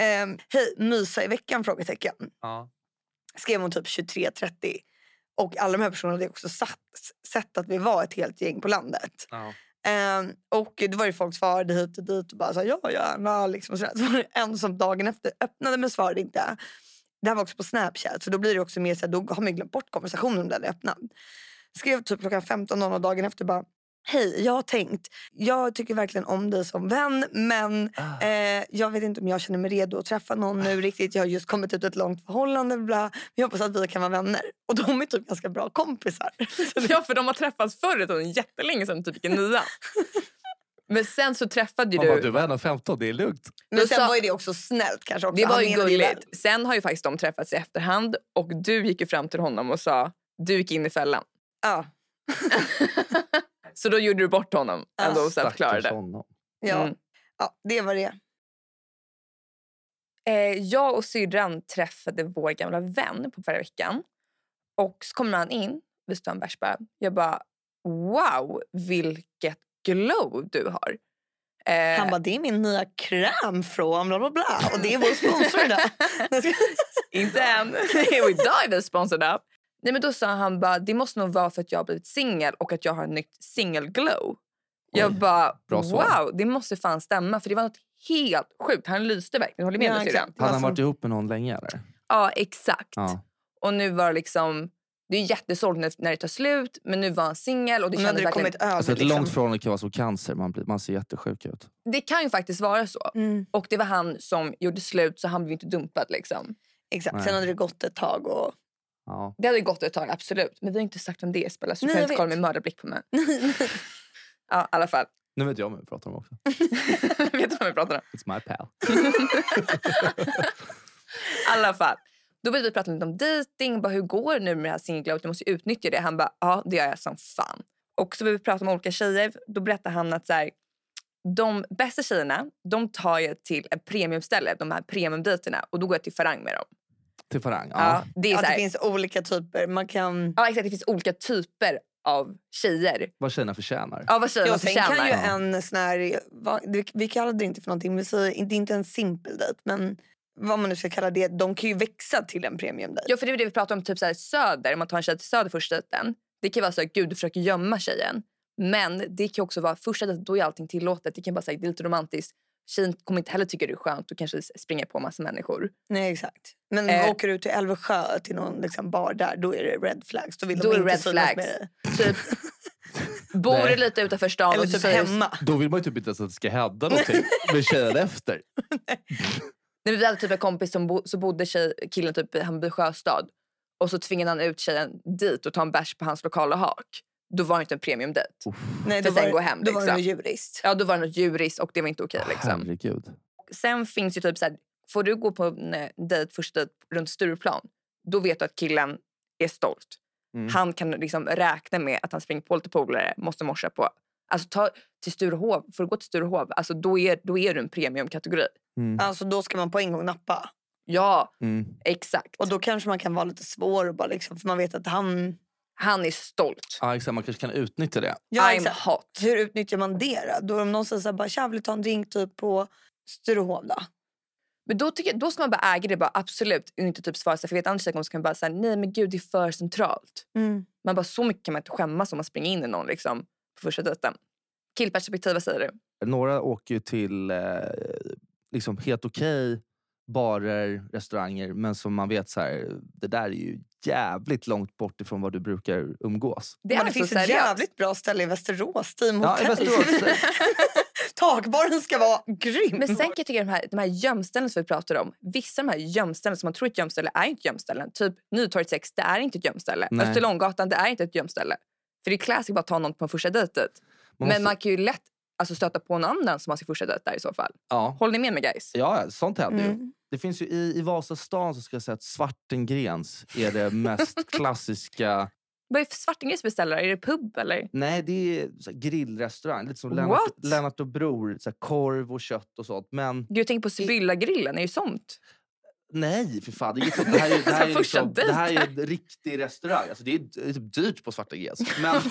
S1: ehm, hej, mysa i veckan? Frågetecken.
S3: Ja.
S1: skrev hon typ 23.30. Och alla de här personerna hade också satt, sett att vi var ett helt gäng på landet.
S3: Ja.
S1: Ehm, och det var ju folk svarade hit och dit och bara sa ja, gärna. Liksom sådär. Så var det en som dagen efter öppnade men svarade inte. Det här var också på Snapchat så då blir det också mer så här, då har man ju glömt bort konversationen om den är öppnad. Skrev typ klockan 15.00 dagen efter bara Hej, jag har tänkt. Jag tycker verkligen om dig som vän men
S3: Ah.
S1: eh, jag vet inte om jag känner mig redo att träffa någon nu riktigt. Jag har just kommit ut ur ett långt förhållande. Bla. Men jag hoppas att vi kan vara vänner. Och de är typ ganska bra kompisar.
S2: Ja, för de har träffats förut och jättelänge sedan typ i nian. Men sen så träffade ju
S3: Man bara,
S2: du...
S3: du var ändå 15, det är lugnt.
S1: Men
S2: Då
S1: sen
S2: sa-
S1: var ju det också snällt kanske. Också.
S2: Det var
S1: Han
S2: ju
S1: menade väl.
S2: gulligt. Sen har ju faktiskt de träffats i efterhand och du gick ju fram till honom och sa du gick in i fällan.
S1: Ja,
S2: Så då gjorde du bort honom
S1: Ja.
S2: ändå och sen förklarade
S3: Stackars
S2: det.
S3: honom.
S1: Ah. ja.
S2: Mm.
S1: ja, det var det.
S2: Eh, jag och syrran träffade vår gamla vän på förra veckan. Och så kommer han in, vi står en bärs bara. Jag bara wow vilket glow du har. Eh,
S1: Han bara, det är min nya kräm från bla bla bla. Och det är vår sponsor idag. Nej, jag skojar.
S2: Inte än. We died as sponsored up. Nej, men då sa han bara, det måste nog vara för att jag har blivit singel och att jag har ett nytt singelglow. Jag
S3: Oj,
S2: bara,
S3: bra svar.
S2: wow, det måste fan stämma. För det var något helt sjukt. Han lyste verkligen. Håller du med
S1: Ja,
S2: mig
S1: exakt.
S2: syrran?
S1: Det var
S3: Hade han
S1: som-
S3: varit ihop med någon länge eller?
S2: Ja, exakt.
S3: Ja.
S2: Och nu var det liksom, det är jättesorgligt när, när det tar slut. Men nu var han singel och det
S1: Nu hade
S2: kändes
S1: det
S2: verkligen...
S1: kommit över.
S3: Alltså, ett
S1: liksom.
S3: långt förhållande kan vara som cancer, man, blir, man ser jättesjuk ut.
S2: Det kan ju faktiskt vara så.
S1: Mm,
S2: Och det var han som gjorde slut så han blev inte dumpad liksom.
S1: exakt.
S3: Nej.
S1: Sen hade det gått ett tag. Och...
S3: Ja.
S2: Det hade gått ett tag, absolut. Men vi har inte sagt vem det är spelar så du
S1: Nej,
S2: kan
S1: jag
S2: inte kolla
S1: vet.
S2: med mördarblick på mig. Ja, i alla fall.
S3: Nu vet jag vem vi pratar om också.
S2: vet du vad vi pratar om?
S3: It's my pal.
S2: I alla fall. Då började vi prata lite om dejting. Bara, hur går det nu med det här singelglovet? Du måste ju utnyttja det. Han bara, ja det gör jag som fan. Och så började vi prata om olika tjejer. Då berättade han att så här, de bästa tjejerna de tar jag till ett premiumställe. De här premiumdejterna. Och då går jag till Farang med dem.
S3: Till Farang. Ja.
S2: Ja. det är
S1: Att
S2: så
S1: det
S2: här,
S1: finns olika typer. Man kan...
S2: ja, exakt, det finns olika typer av tjejer.
S3: Vad tjejerna förtjänar.
S2: Ja, vad tjejerna
S1: Ja, sen kan ju
S2: förtjänar.
S3: Ja.
S1: en sån här, vad, det- vi kallar det inte för någonting, vi säger, inte- det är inte en simpel dejt men vad man nu ska kalla det, de kan ju växa till en premiumdejt.
S2: Ja, för det är det vi pratar om. Typ så här, söder, om man tar en tjej till söder första dejten. Det kan vara så att gud du försöker gömma tjejen. Men det kan också vara första dejten, då är allting tillåtet. Det kan bara säga det är lite romantiskt. Tjejen kommer inte heller tycka det är skönt och kanske springer på massa människor.
S1: Nej exakt. Men
S2: Eh.
S1: åker du till Älvsjö till någon liksom, bar där, då är det red flags. Då vill
S2: Då
S1: de
S2: är det
S1: inte
S2: red
S1: synas med
S2: flags.
S1: dig.
S2: Typ, bor du
S3: Nej.
S2: lite utanför stan
S1: Eller
S2: och så
S1: typ
S2: säger,
S1: hemma.
S3: Då vill man ju typ inte ens att det ska hända någonting med tjejen efter.
S2: Nej, men Vi hade typ en kompis som bo, så bodde tjej, killen typ i Hammarby sjöstad. Och så tvingade han ut tjejen dit och ta en bärs på hans lokala hak. Då var det inte en premiumdejt.
S1: Nej,
S2: För
S1: då var
S2: sen
S1: det-
S2: gå hem,
S1: Då var det
S2: liksom.
S1: nog jurist.
S2: Ja, då var det något djuriskt och det var inte okej. liksom.
S3: Herregud.
S2: Sen finns ju typ så här, får du gå på en eh, dejt, första dejt runt Stureplan, då vet du att killen är stolt.
S3: Mm.
S2: Han kan liksom räkna med att han springer på lite polare, måste morsa på. Alltså ta till Sturehov, för att gå till Sturehov, alltså då är, då är du en premiumkategori.
S3: Mm.
S1: Alltså då ska man på en gång nappa.
S2: Ja,
S3: Mm.
S2: exakt.
S1: Och då kanske man kan vara lite svår och bara liksom, för man vet att han...
S2: Han är stolt.
S3: Ja, exakt, man kanske kan utnyttja det.
S1: Ja,
S2: I'm
S1: exakt.
S2: hot.
S1: Hur utnyttjar man det då? då om någon säger så här, bara tja vill du ta en drink typ på Sturehov då?
S2: Men då, tycker jag, då ska man bara äga det, bara absolut. Och inte typ svara så här, för jag vet andra tjejkompisar kan bara säga nej men gud det är för centralt.
S1: Mm.
S2: Man bara så mycket kan man inte skämmas om man springer in i någon liksom på första dejten. Killperspektiv, vad säger du?
S3: Några åker ju till eh, liksom helt okej barer, restauranger men som man vet så här, det där är ju jävligt långt bort ifrån vad du brukar umgås.
S1: Det,
S2: är
S1: det
S2: så
S1: finns ett
S2: seriöst.
S1: jävligt bra ställe i Västerås, Team
S3: Ja, i
S1: Hotel.
S3: Västerås.
S1: Takbaren ska vara grym.
S2: Men sen kan jag tycka de här, de här gömställena som vi pratar om. Vissa av de här gömställena som man tror är ett gömställe är inte gömställen. Typ Nytorget 6, det är inte ett gömställe.
S3: Nej.
S2: Österlånggatan, det är inte ett gömställe. För det är classic bara att ta någon på en första dejtet.
S3: Man måste,
S2: Men man kan ju lätt alltså, stöta på någon annan som har sin första dejt där i så fall.
S3: ja,
S2: Håller ni med mig guys?
S3: ja, sånt händer ju.
S1: Mm.
S3: Det finns ju i, i Vasastan så ska jag säga att Svartengrens är det mest klassiska.
S2: Vad är Svartengrens beställare? Är det pub eller?
S3: Nej, det är så här grillrestaurang. Lite som
S2: What?
S3: Lennart, Lennart och Bror. Så här korv och kött och sånt. Men
S2: Gud, jag tänker på Sibylla-grillen, är ju såmt.
S3: nej, för fan. Det, är inget sånt. det här är, det här är,
S2: Alltså, första
S3: liksom, det här är
S2: dejten.
S3: en riktig restaurang. Alltså, det är det är typ dyrt på Svartengrens. Men,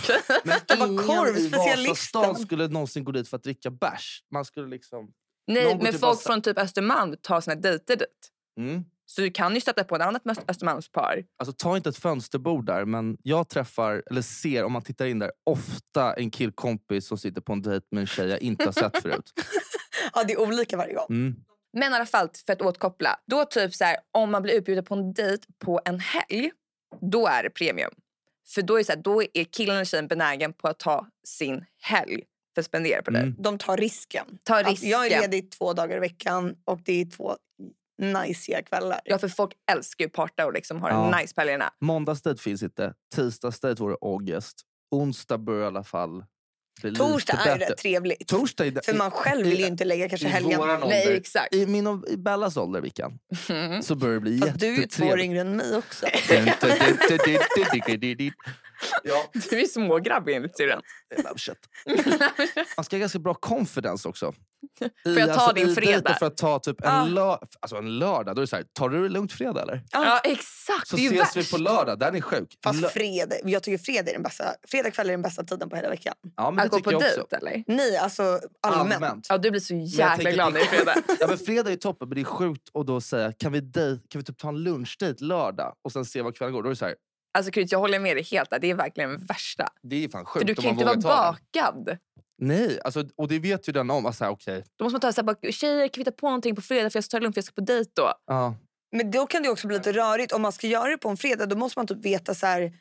S3: men
S1: De var
S3: ingen i
S1: korvspecialisten.
S3: Vasastan skulle någonsin gå dit för att dricka bärs. Man skulle liksom...
S2: Nej,
S3: Någon går
S2: men
S3: till
S2: folk
S3: Vasa.
S2: från typ Östermalm tar sina dejter dit.
S3: Mm.
S2: Så du kan ju stöta på ett annat Öst- Östermalmspar.
S3: Alltså, ta inte ett fönsterbord där, men jag träffar, eller ser om man tittar in där, ofta en killkompis som sitter på en dejt med en tjej jag inte har sett förut.
S1: Ja, det är olika varje gång.
S3: Mm.
S2: Men i alla fall, för att återkoppla. Då typ så här, om man blir utbjuden på en dejt på en helg, då är det premium. För då är, det så här, då är killen eller tjejen benägen på att ta sin helg för att spendera på det.
S3: Mm. Alltså,
S1: De tar risken.
S2: Ta
S1: Att
S2: risken.
S1: Jag är ledig två dagar i veckan och det är två najsiga kvällar.
S2: Ja, för folk älskar ju parta och liksom har
S3: Ja.
S2: en nice på helgerna.
S3: Måndagsdejt finns inte. Tisdagsdejt vore ångest. Onsdag bör i alla fall bli lite
S1: Torsdag är ju
S3: bättre.
S1: rätt trevligt.
S3: Torsdag är det-
S1: För man själv vill ju inte lägga kanske
S3: i
S1: helgen.
S3: våran ålder.
S2: Nej, exakt.
S3: I, min och, I Bellas ålder, Vickan,
S2: Mm.
S3: så börjar det bli
S1: Fast du är ju två år
S3: jättetrevligt.
S1: yngre än mig också.
S3: ja,
S2: Du är smågrabbig enligt syrran.
S3: I love shit. Man ska ha ganska bra confidence också. alltså,
S2: Får jag ta din fredag?
S3: För att ta typ en,
S2: Ah.
S3: lö- alltså en lördag, då är det så här, tar du det lugnt fredag eller?
S2: Ja, exakt.
S3: Så
S2: det är ju
S3: ses vi på
S2: värst.
S3: lördag, den är sjuk. Lö-
S1: Fast fredag, jag tycker fredag är den bästa, fredag kväll är den bästa tiden på hela veckan.
S3: ja, men
S2: Att
S3: det
S2: gå på
S3: tycker jag också.
S2: dejt eller?
S1: Nej, alltså allmänt.
S2: Ja, du blir så jäkla
S3: tänker
S2: glad
S3: att
S2: när
S3: det-
S2: det är fredag.
S3: Ja, men fredag är toppen, men det är sjukt att då säga kan vi, dej- kan vi typ ta en lunchdejt lördag och sen se vad kvällen går. Då är det, så här,
S2: Alltså Kryt, jag håller med dig helt. där. Det är verkligen det värsta.
S3: det är fan
S2: För
S3: sjukt
S2: du
S3: om
S2: kan ju
S3: man
S2: inte vara
S3: vågar ta den.
S2: bakad.
S3: Nej, alltså, och det vet ju den om. Alltså, okay.
S2: Då måste man ta så här, bara, tjejer kan vi ta på någonting på fredag för jag ska ta det lugnt för jag ska på dejt då.
S3: ja.
S1: Men då kan det också bli lite rörigt. Om man ska göra det på en fredag då måste man typ veta så här,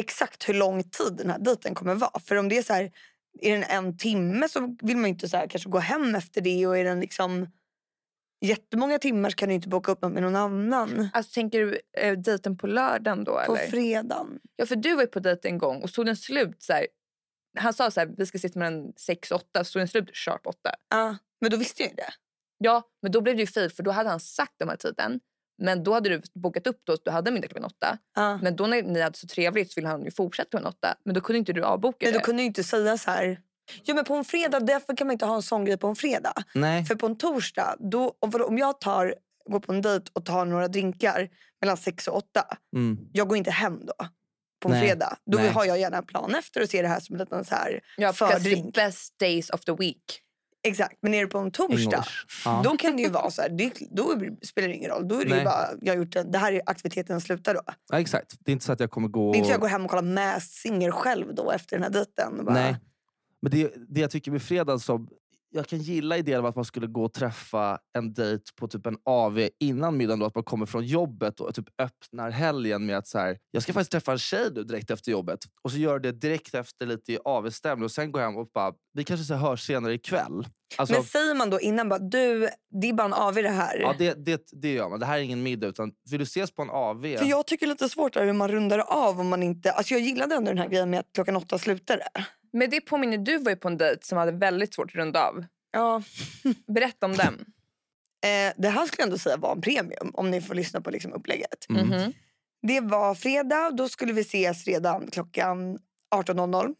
S1: exakt hur lång tid den här dejten kommer vara. För om det är så här, är den en timme så vill man ju inte så här, kanske gå hem efter det. Och är den liksom jättemånga timmar så kan du inte boka upp något med någon annan.
S2: Alltså tänker du eh, dejten på lördagen då
S1: På
S2: eller?
S1: fredagen.
S2: ja, för du var ju på dejt en gång och så den slut så här. Han sa så här, vi ska sitta mellan 6 och 8. Så den slut sharp 8.
S1: Ja, men då visste jag ju det.
S2: Ja, men då blev det ju fel för då hade han sagt den här tiden. Men då hade du bokat upp då, du hade middag klockan åtta.
S1: Ja.
S2: Men då när ni hade så trevligt så ville han ju fortsätta klockan åtta. Men då kunde inte du avboka
S1: Men då
S2: det.
S1: kunde jag ju inte säga så här. Ja, men på en fredag, därför kan man inte ha en sån grej på en fredag.
S3: Nej.
S1: För på en torsdag, då, och vadå, om jag tar, går på en dejt och tar några drinkar mellan sex och åtta.
S3: Mm.
S1: jag går inte hem då på en
S3: Nej.
S1: fredag. Då
S3: Nej.
S1: har jag gärna en plan efter och ser det här som en liten så här.
S2: Ja, för det är
S1: fördrink.
S2: best days of the week.
S1: Exakt, men är det på en torsdag
S3: English. Ja.
S1: då kan det ju vara så här, det, då spelar det ingen roll. Då är det
S3: Nej.
S1: ju bara, jag har gjort det, det här är aktiviteten slutar då.
S3: Ja, exakt. Det är inte så att jag kommer gå...
S1: Det är inte så jag går hem och kollar Masked Singer själv då efter den här dejten. och bara-
S3: Nej. Men det, det jag tycker med fredag som... Jag kan gilla idén om att man skulle gå och träffa en dejt på typ en AV innan middagen. Då, att man kommer från jobbet och typ öppnar helgen med att så här, jag ska faktiskt träffa en tjej nu direkt efter jobbet. Och så gör det direkt efter lite i AV-stämning och sen går jag hem och bara, vi kanske så här hörs senare ikväll. Alltså,
S1: Men säger man då innan bara du, det är bara en AW det här.
S3: ja, det, det, det gör man. Det här är ingen middag utan vill du ses på en AV?
S1: För jag tycker det är lite svårt där hur man rundar av om man inte, alltså jag gillade ändå den här grejen med att klockan åtta slutar det.
S2: Men det påminner du var ju på en dejt som hade väldigt svårt att runda av.
S1: Ja,
S2: Berätta om den.
S1: Eh, det här skulle jag ändå säga var en premium om ni får lyssna på liksom upplägget.
S3: Mm.
S2: Mhm.
S1: Det var fredag, då skulle vi ses redan klockan 18.00.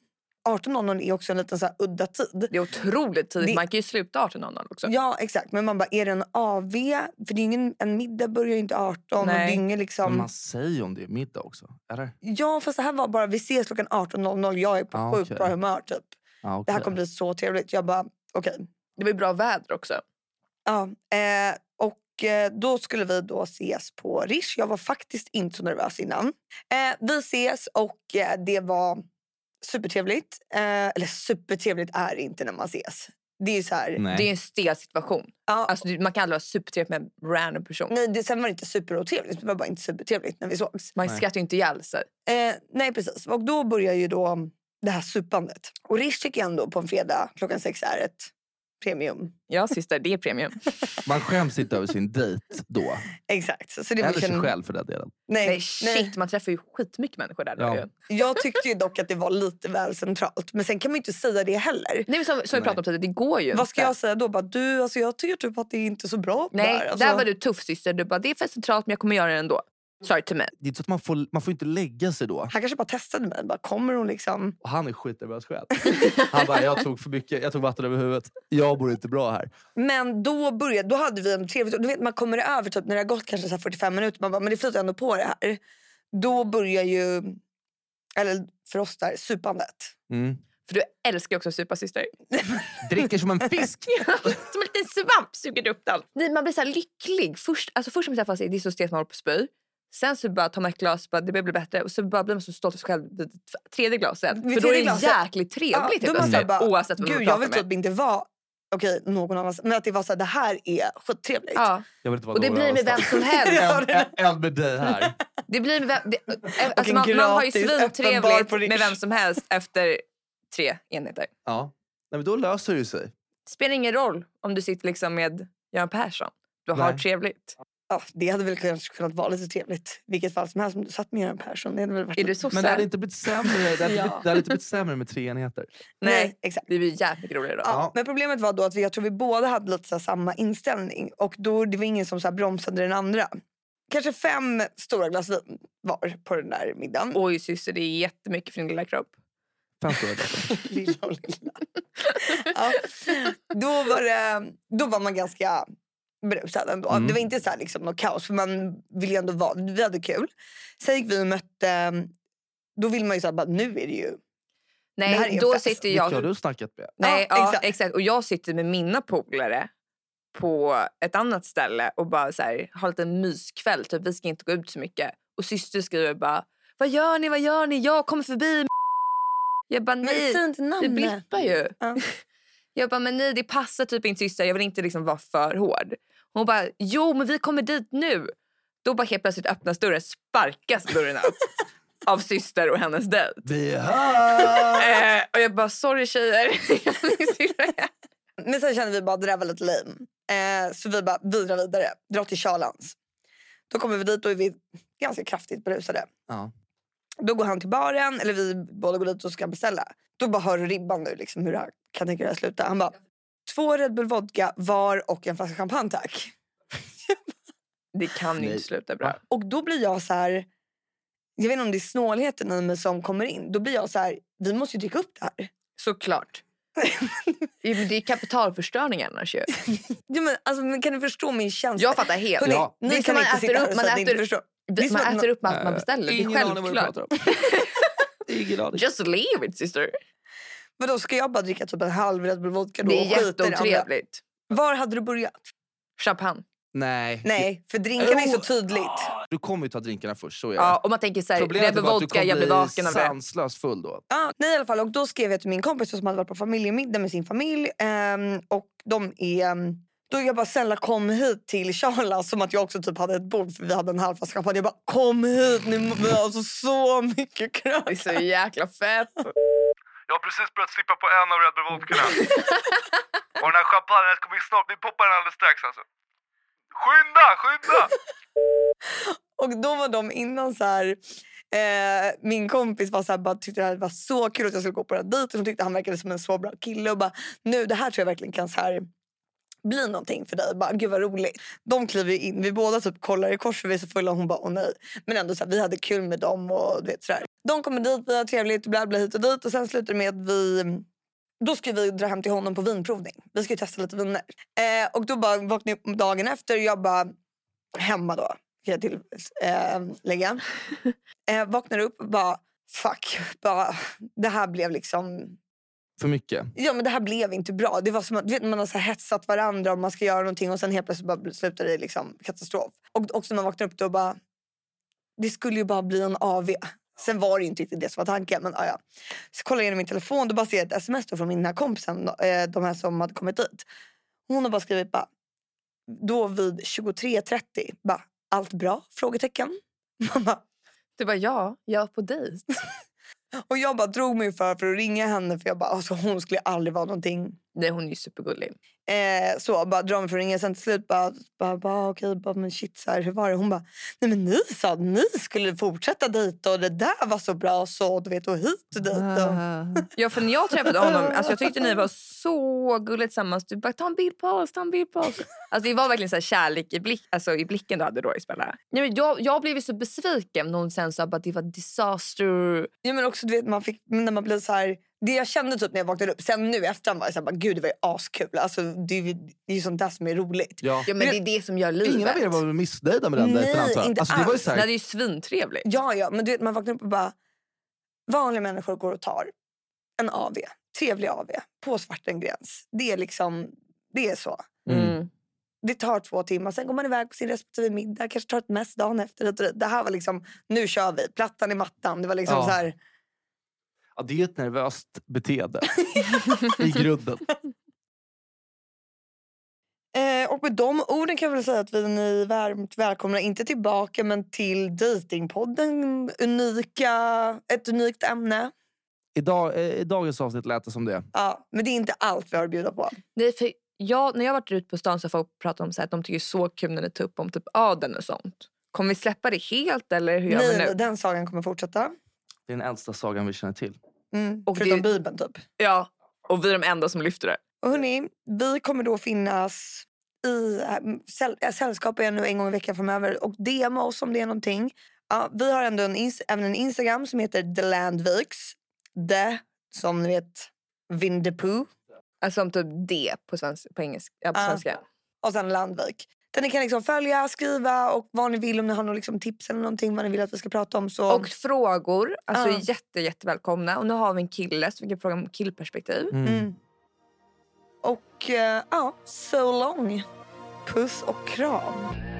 S1: 18.00 är också en liten så här udda tid.
S2: Det är otroligt tidigt.
S1: Det-
S2: Man kan ju sluta 18.00 också.
S1: Ja, exakt. Men man bara, är det en AV? För det är ingen, en middag börjar ju inte 18. Och det är
S2: Nej.
S1: ingen
S3: Men
S1: liksom...
S3: man säger ju om det är middag också. Eller?
S1: Ja, fast det här var bara, vi ses klockan 18.00. Jag är på
S3: Ah,
S1: sjukt
S3: okej.
S1: bra humör typ.
S3: Ja,
S1: Det här
S3: okej.
S1: kommer bli så trevligt. Jag bara, okej.
S2: Det var ju bra väder också.
S1: Ja, eh, och eh, då skulle vi då ses på Rish. Jag var faktiskt inte så nervös innan. Eh, vi ses och eh, det var supertrevligt. Eh, eller supertrevligt är det inte när man ses. Det är ju så här...
S3: Nej.
S2: Det är ju en stel situation.
S1: Ja,
S2: Alltså, du- man kan aldrig vara supertrevlig med en random person.
S1: nej, det, sen var det inte superotrevligt. Det var bara inte supertrevligt när vi sågs.
S2: Man
S3: Nej.
S2: skrattar ju inte ihjäl sig.
S1: Eh, nej, precis. Och då börjar ju då det här supandet. Och Rish tycker jag ändå på en fredag klockan sex är ett premium.
S2: Ja, syster, det är premium.
S3: Man skäms inte över sin dejt då.
S1: Exakt. Så det var
S3: Eller sig
S1: en-
S3: själv för den delen.
S1: Nej,
S2: Nej, shit, man träffar ju skitmycket människor där.
S3: Ja.
S2: då ju.
S1: Jag tyckte ju dock att det var lite väl centralt. Men sen kan man ju inte säga det heller.
S2: Nej, men som, som vi
S3: Nej.
S2: pratade om tidigare, det går ju
S1: Vad ska
S2: inte.
S1: jag säga då? Bara, du, alltså, jag tycker typ att det är inte så bra på det
S2: Nej,
S1: här. Alltså,
S2: där var du tuff syster. Du bara, det är för centralt men jag kommer göra det ändå. Sorry to me.
S3: Det är inte så att man får, man får inte lägga sig då.
S1: Han kanske bara testade mig. Bara, kommer hon liksom...
S3: Och han är skitnervös själv. Han bara, jag tog för mycket, jag tog vatten över huvudet. Jag mår inte bra här.
S1: Men då började, då hade vi en trevlig... och Du vet, man kommer över typ, när det har gått kanske så här 45 minuter. Man bara, men det flyter ändå på det här. Då börjar ju... Eller för oss där, supandet.
S2: För du älskar ju också att supa syster.
S3: Mm. Dricker som en fisk.
S2: som en liten svamp suger du upp allt. Nej, man blir så här lycklig. Först, alltså först när man träffas är det så stelt man håller på att spy. Sen så bara tar man ett glas bara, det blir bättre och så bara blir man så stolt över sig själv vid tredje glaset.
S1: Vid
S2: För då är
S1: tredje
S2: det
S1: glaset.
S2: jäkligt trevligt
S1: Ja,
S2: helt
S1: då är man så här
S2: plötsligt,
S1: bara,
S2: typ oavsett vad
S1: Gud,
S2: man
S1: jag
S2: pratar
S1: vill
S2: med.
S1: typ inte vara okej, någon av oss. Men att det var så här, det här är skittrevligt.
S5: Ja.
S3: Jag vill inte vara
S5: Och det
S3: någon
S5: blir med vem
S3: annanstans.
S5: som helst.
S1: Ja, det-
S3: Ä- Än med dig här.
S5: Det blir med vem, det,
S1: en
S5: alltså man, man har ju
S1: gratis öppen bar
S5: svintrevligt
S1: på Riche.
S5: med
S2: Med vem som helst efter tre enheter.
S3: Ja. Nej, men då löser det ju sig.
S2: Spelar ingen roll om du sitter liksom med Göran Persson. Du har
S3: Nej.
S2: trevligt.
S1: Ja, det hade väl kanske kunnat vara lite trevligt. Vilket fall som helst om du satt med Göran Persson. Det hade väl varit
S2: Är du
S1: lite-
S2: sosse?
S3: Men det hade inte blivit sämre, det hade
S1: Ja.
S3: blivit, det hade inte blivit sämre med tre enheter.
S2: Nej,
S1: exakt.
S2: det blir jävligt roligare då.
S1: Ja,
S3: Ja.
S1: Men problemet var då att vi, jag tror vi båda hade lite så här samma inställning. Och då, Det var ingen som så här bromsade den andra. Kanske fem stora glas vin var på den där middagen.
S2: Oj syster, det är jättemycket för din lilla kropp.
S3: Fem stora glass.
S1: lilla och lilla. ja. då, var det, då var man ganska berusad ändå.
S3: Mm.
S1: Det var inte så här liksom något kaos, för man ville ju ändå vara... Vi hade kul. Sen gick vi och mötte... Då vill man ju säga att nu är det ju... Det här är
S2: Nej,
S1: en
S2: då
S1: fest.
S2: sitter
S3: Vilka har
S2: jag...
S3: du snackat med?
S2: Nej,
S1: Ja,
S2: ja,
S1: exakt.
S2: exakt. Och jag sitter med mina polare på ett annat ställe och bara så här, har lite myskväll. Typ, vi ska inte gå ut så mycket. Och syster skriver bara, vad gör ni, vad gör ni? Jag kommer förbi. Jag bara, nej.
S1: fint
S2: Du
S1: namn.
S2: blippar ju.
S1: Ja.
S2: Jag bara, men nej det passar typ inte syster. Jag vill inte liksom vara för hård. Hon bara, jo men vi kommer dit nu. Då bara helt plötsligt öppnas dörren, sparkas dörren upp. av syster och hennes dejt.
S3: Vi är här!
S2: Eh, och jag bara, sorry tjejer. Jag minns inte det här.
S1: Men sen kände vi bara att det där var lite lame. Eh, så vi bara, vi drar vidare. Dra till Charlans. Då kommer vi dit och är vi ganska kraftigt berusade.
S3: Ja.
S1: Då går han till baren, eller vi båda går dit och ska beställa. Då bara hör du ribban nu, liksom, hur det här kan tänka dig att sluta. Han bara, två Red Bull vodka var och en flaska champagne tack.
S2: Det kan ju
S3: Nej.
S2: inte sluta bra.
S1: Och då blir jag så här, jag vet inte om det är snålheten i mig som kommer in. Då blir jag så här, vi måste ju dricka upp det här.
S2: Såklart. Jo, men det är kapitalförstöring annars ju.
S1: Ja, men, alltså, men kan du förstå min känsla?
S2: Jag fattar helt.
S1: Hörrni,
S3: Ja.
S1: ni
S5: Det är som
S1: kan
S5: man
S1: inte
S5: äter
S1: sitta här
S5: upp,
S1: och
S5: man
S1: säga att ni inte
S5: äter-
S1: förstår. Det är
S5: Vi, man
S1: som att-
S5: äter upp allt man
S3: Eh,
S5: beställer. Det är
S3: Ingen aning vad du
S5: självklart.
S3: pratar om. Ingen aning.
S2: Just leave it sister.
S1: Men då ska jag bara dricka typ en halv Red Bull vodka då
S2: Det är
S1: och skita i det andra?
S2: jätteotrevligt.
S1: Var hade du börjat?
S2: Champagne.
S3: Nej.
S1: Nej, för drinkarna är så
S3: Oh.
S1: tydligt.
S3: Du kommer ju ta drinkarna först, så är det.
S2: Ja, och man tänker så här,
S3: Problemet
S2: Rebbe
S3: är bara att du
S2: vodka, jag blir
S3: kommer
S2: vaken
S3: bli
S2: av det.
S3: sanslöst full då.
S1: Ja, nej, i alla fall. Och då skrev jag till min kompis som hade varit på familjemiddag med sin familj. ehm, och de är... ehm, Då jag bara snälla kom hit till Charles som att jag också typ hade ett bord för vi hade en halv flaska champagne. Jag bara kom hit, ni må- vi har alltså så mycket
S2: Det är
S1: krök.
S2: så jäkla fett.
S6: Jag har precis börjat slippa på en av Red Bull vodkorna. Och den här champagnen kommer ju snart. Vi poppar den alldeles strax alltså. Skynda, skynda!
S1: Och då var de innan så här... Eh, min kompis var så här, bara tyckte det här var så kul att jag skulle gå på den här dejten. Hon tyckte han verkade som en så bra kille. Och bara, nu det här tror jag verkligen kan så här bli någonting för dig. Bara, Gud vad roligt. De kliver ju in. Vi båda typ kollar i kors för vi är så fulla. Och hon bara, åh nej. Men ändå så här, vi hade kul med dem. och du vet så här. De kommer dit, vi har trevligt, bla bla hit och dit. Och sen slutar det med att vi... Då ska vi dra hem till honom på vinprovning. Vi ska ju testa lite viner. Eh, och då bara vaknade jag upp dagen efter. Jag bara, hemma då. Kan jag till, eh, lägga. Eh, vaknar upp och bara, fuck. Bara, det här blev liksom
S3: För mycket.
S1: ja, men det här blev inte bra. Det var som att du vet, man har så här hetsat varandra om man ska göra någonting och sen helt plötsligt bara slutar det i liksom katastrof. Och också när man vaknar upp då bara, det skulle ju bara bli en AV. Sen var det ju inte riktigt det som var tanken. Men, ja, ja. Så kollar jag igenom min telefon då bara ser jag ett sms då från min här kompisen, eh, de här som hade kommit dit. Hon har bara skrivit bara, då vid 23.30, bara, allt bra? Frågetecken. Man bara,
S2: Du bara, ja, jag är på dejt.
S1: och jag bara drog mig för för att ringa henne för jag bara, alltså, hon skulle aldrig vara någonting
S2: Nej, hon är ju supergullig.
S1: Eh, så bara drar mig från ringen. Sen till slut bara, bara, bara okej, bara, men shit så här, hur var det? Hon bara, nej men ni sa att ni skulle fortsätta dejta och det där var så bra så du vet och hit och dit. Och,
S2: Ja, för när jag träffade honom, alltså jag tyckte ni var så gulligt tillsammans. Du bara, ta en bild på oss, ta en bild på oss. Alltså det var verkligen så här kärlek i, blick, alltså i blicken du hade då, Isabella. Nej, men jag, jag blev ju så besviken när hon sen sa att det var disaster.
S1: ja, men också du vet man fick, men när man blir så här, det jag kände typ när jag vaknade upp, sen nu i efterhand var jag så här, bara, gud det var ju askul. Alltså det är ju det är ju sånt där som är roligt.
S3: Ja.
S2: Ja, men det är det som gör livet.
S3: Ingen av er var väl missnöjda med den
S1: Nej,
S3: dejten antar jag?
S1: inte
S3: alltså, det var ju
S1: alls.
S3: så
S2: Ni
S3: här,
S2: hade ju svintrevligt.
S1: Ja, ja, men du vet man vaknar upp och bara, vanliga människor går och tar en AV, trevlig AV, på Svartengräns. Det är liksom, det är så.
S3: mm.
S1: Det tar två timmar, sen går man iväg på sin respektive middag. Kanske tar ett mess dagen efter. hit och dit. Det här var liksom, nu kör vi. Plattan i mattan. Det var liksom
S3: Ja.
S1: så här,
S3: ja, det är ett nervöst beteende i grunden.
S1: Eh, och med de orden kan jag väl säga att vi ni är varmt välkomna, inte tillbaka men till Datingpodden. Unika, ett unikt ämne.
S3: Idag, eh, I dagens avsnitt lät det som det.
S1: Ja, men det är inte allt vi har att bjuda på.
S2: Nej, för jag, när jag varit ute på stan så har folk pratat om så här, att de tycker det är så kul när ni tar upp om typ adeln och sånt. Kommer vi släppa det helt eller hur gör vi
S1: Nej,
S2: nu?
S1: den sagan kommer fortsätta.
S3: Det är den äldsta sagan vi känner till.
S1: Mm,
S2: Och
S1: förutom
S2: det-
S1: Bibeln typ.
S2: Ja, och vi är de enda som lyfter det.
S1: Och hörni, vi kommer då finnas i äh, säll- äh, sällskap igen nu en gång i veckan framöver och DMa oss om det är någonting. Ja, vi har ändå en ins- även en Instagram som heter The Landviks. The, som ni vet, Vindepoo.
S2: Alltså om typ D på, svensk, på, engelska, ja, på
S1: Ah.
S2: svenska.
S1: och sen Landvik. Där ni kan liksom följa, skriva och vad ni vill om ni har några liksom tips eller någonting vad ni vill att vi ska prata om. Så...
S2: Och frågor, alltså
S1: Ja.
S2: jätte, jättevälkomna. Och nu har vi en kille så vi kan fråga om killperspektiv.
S1: Mm. Och eh, ja, so long. Puss och kram.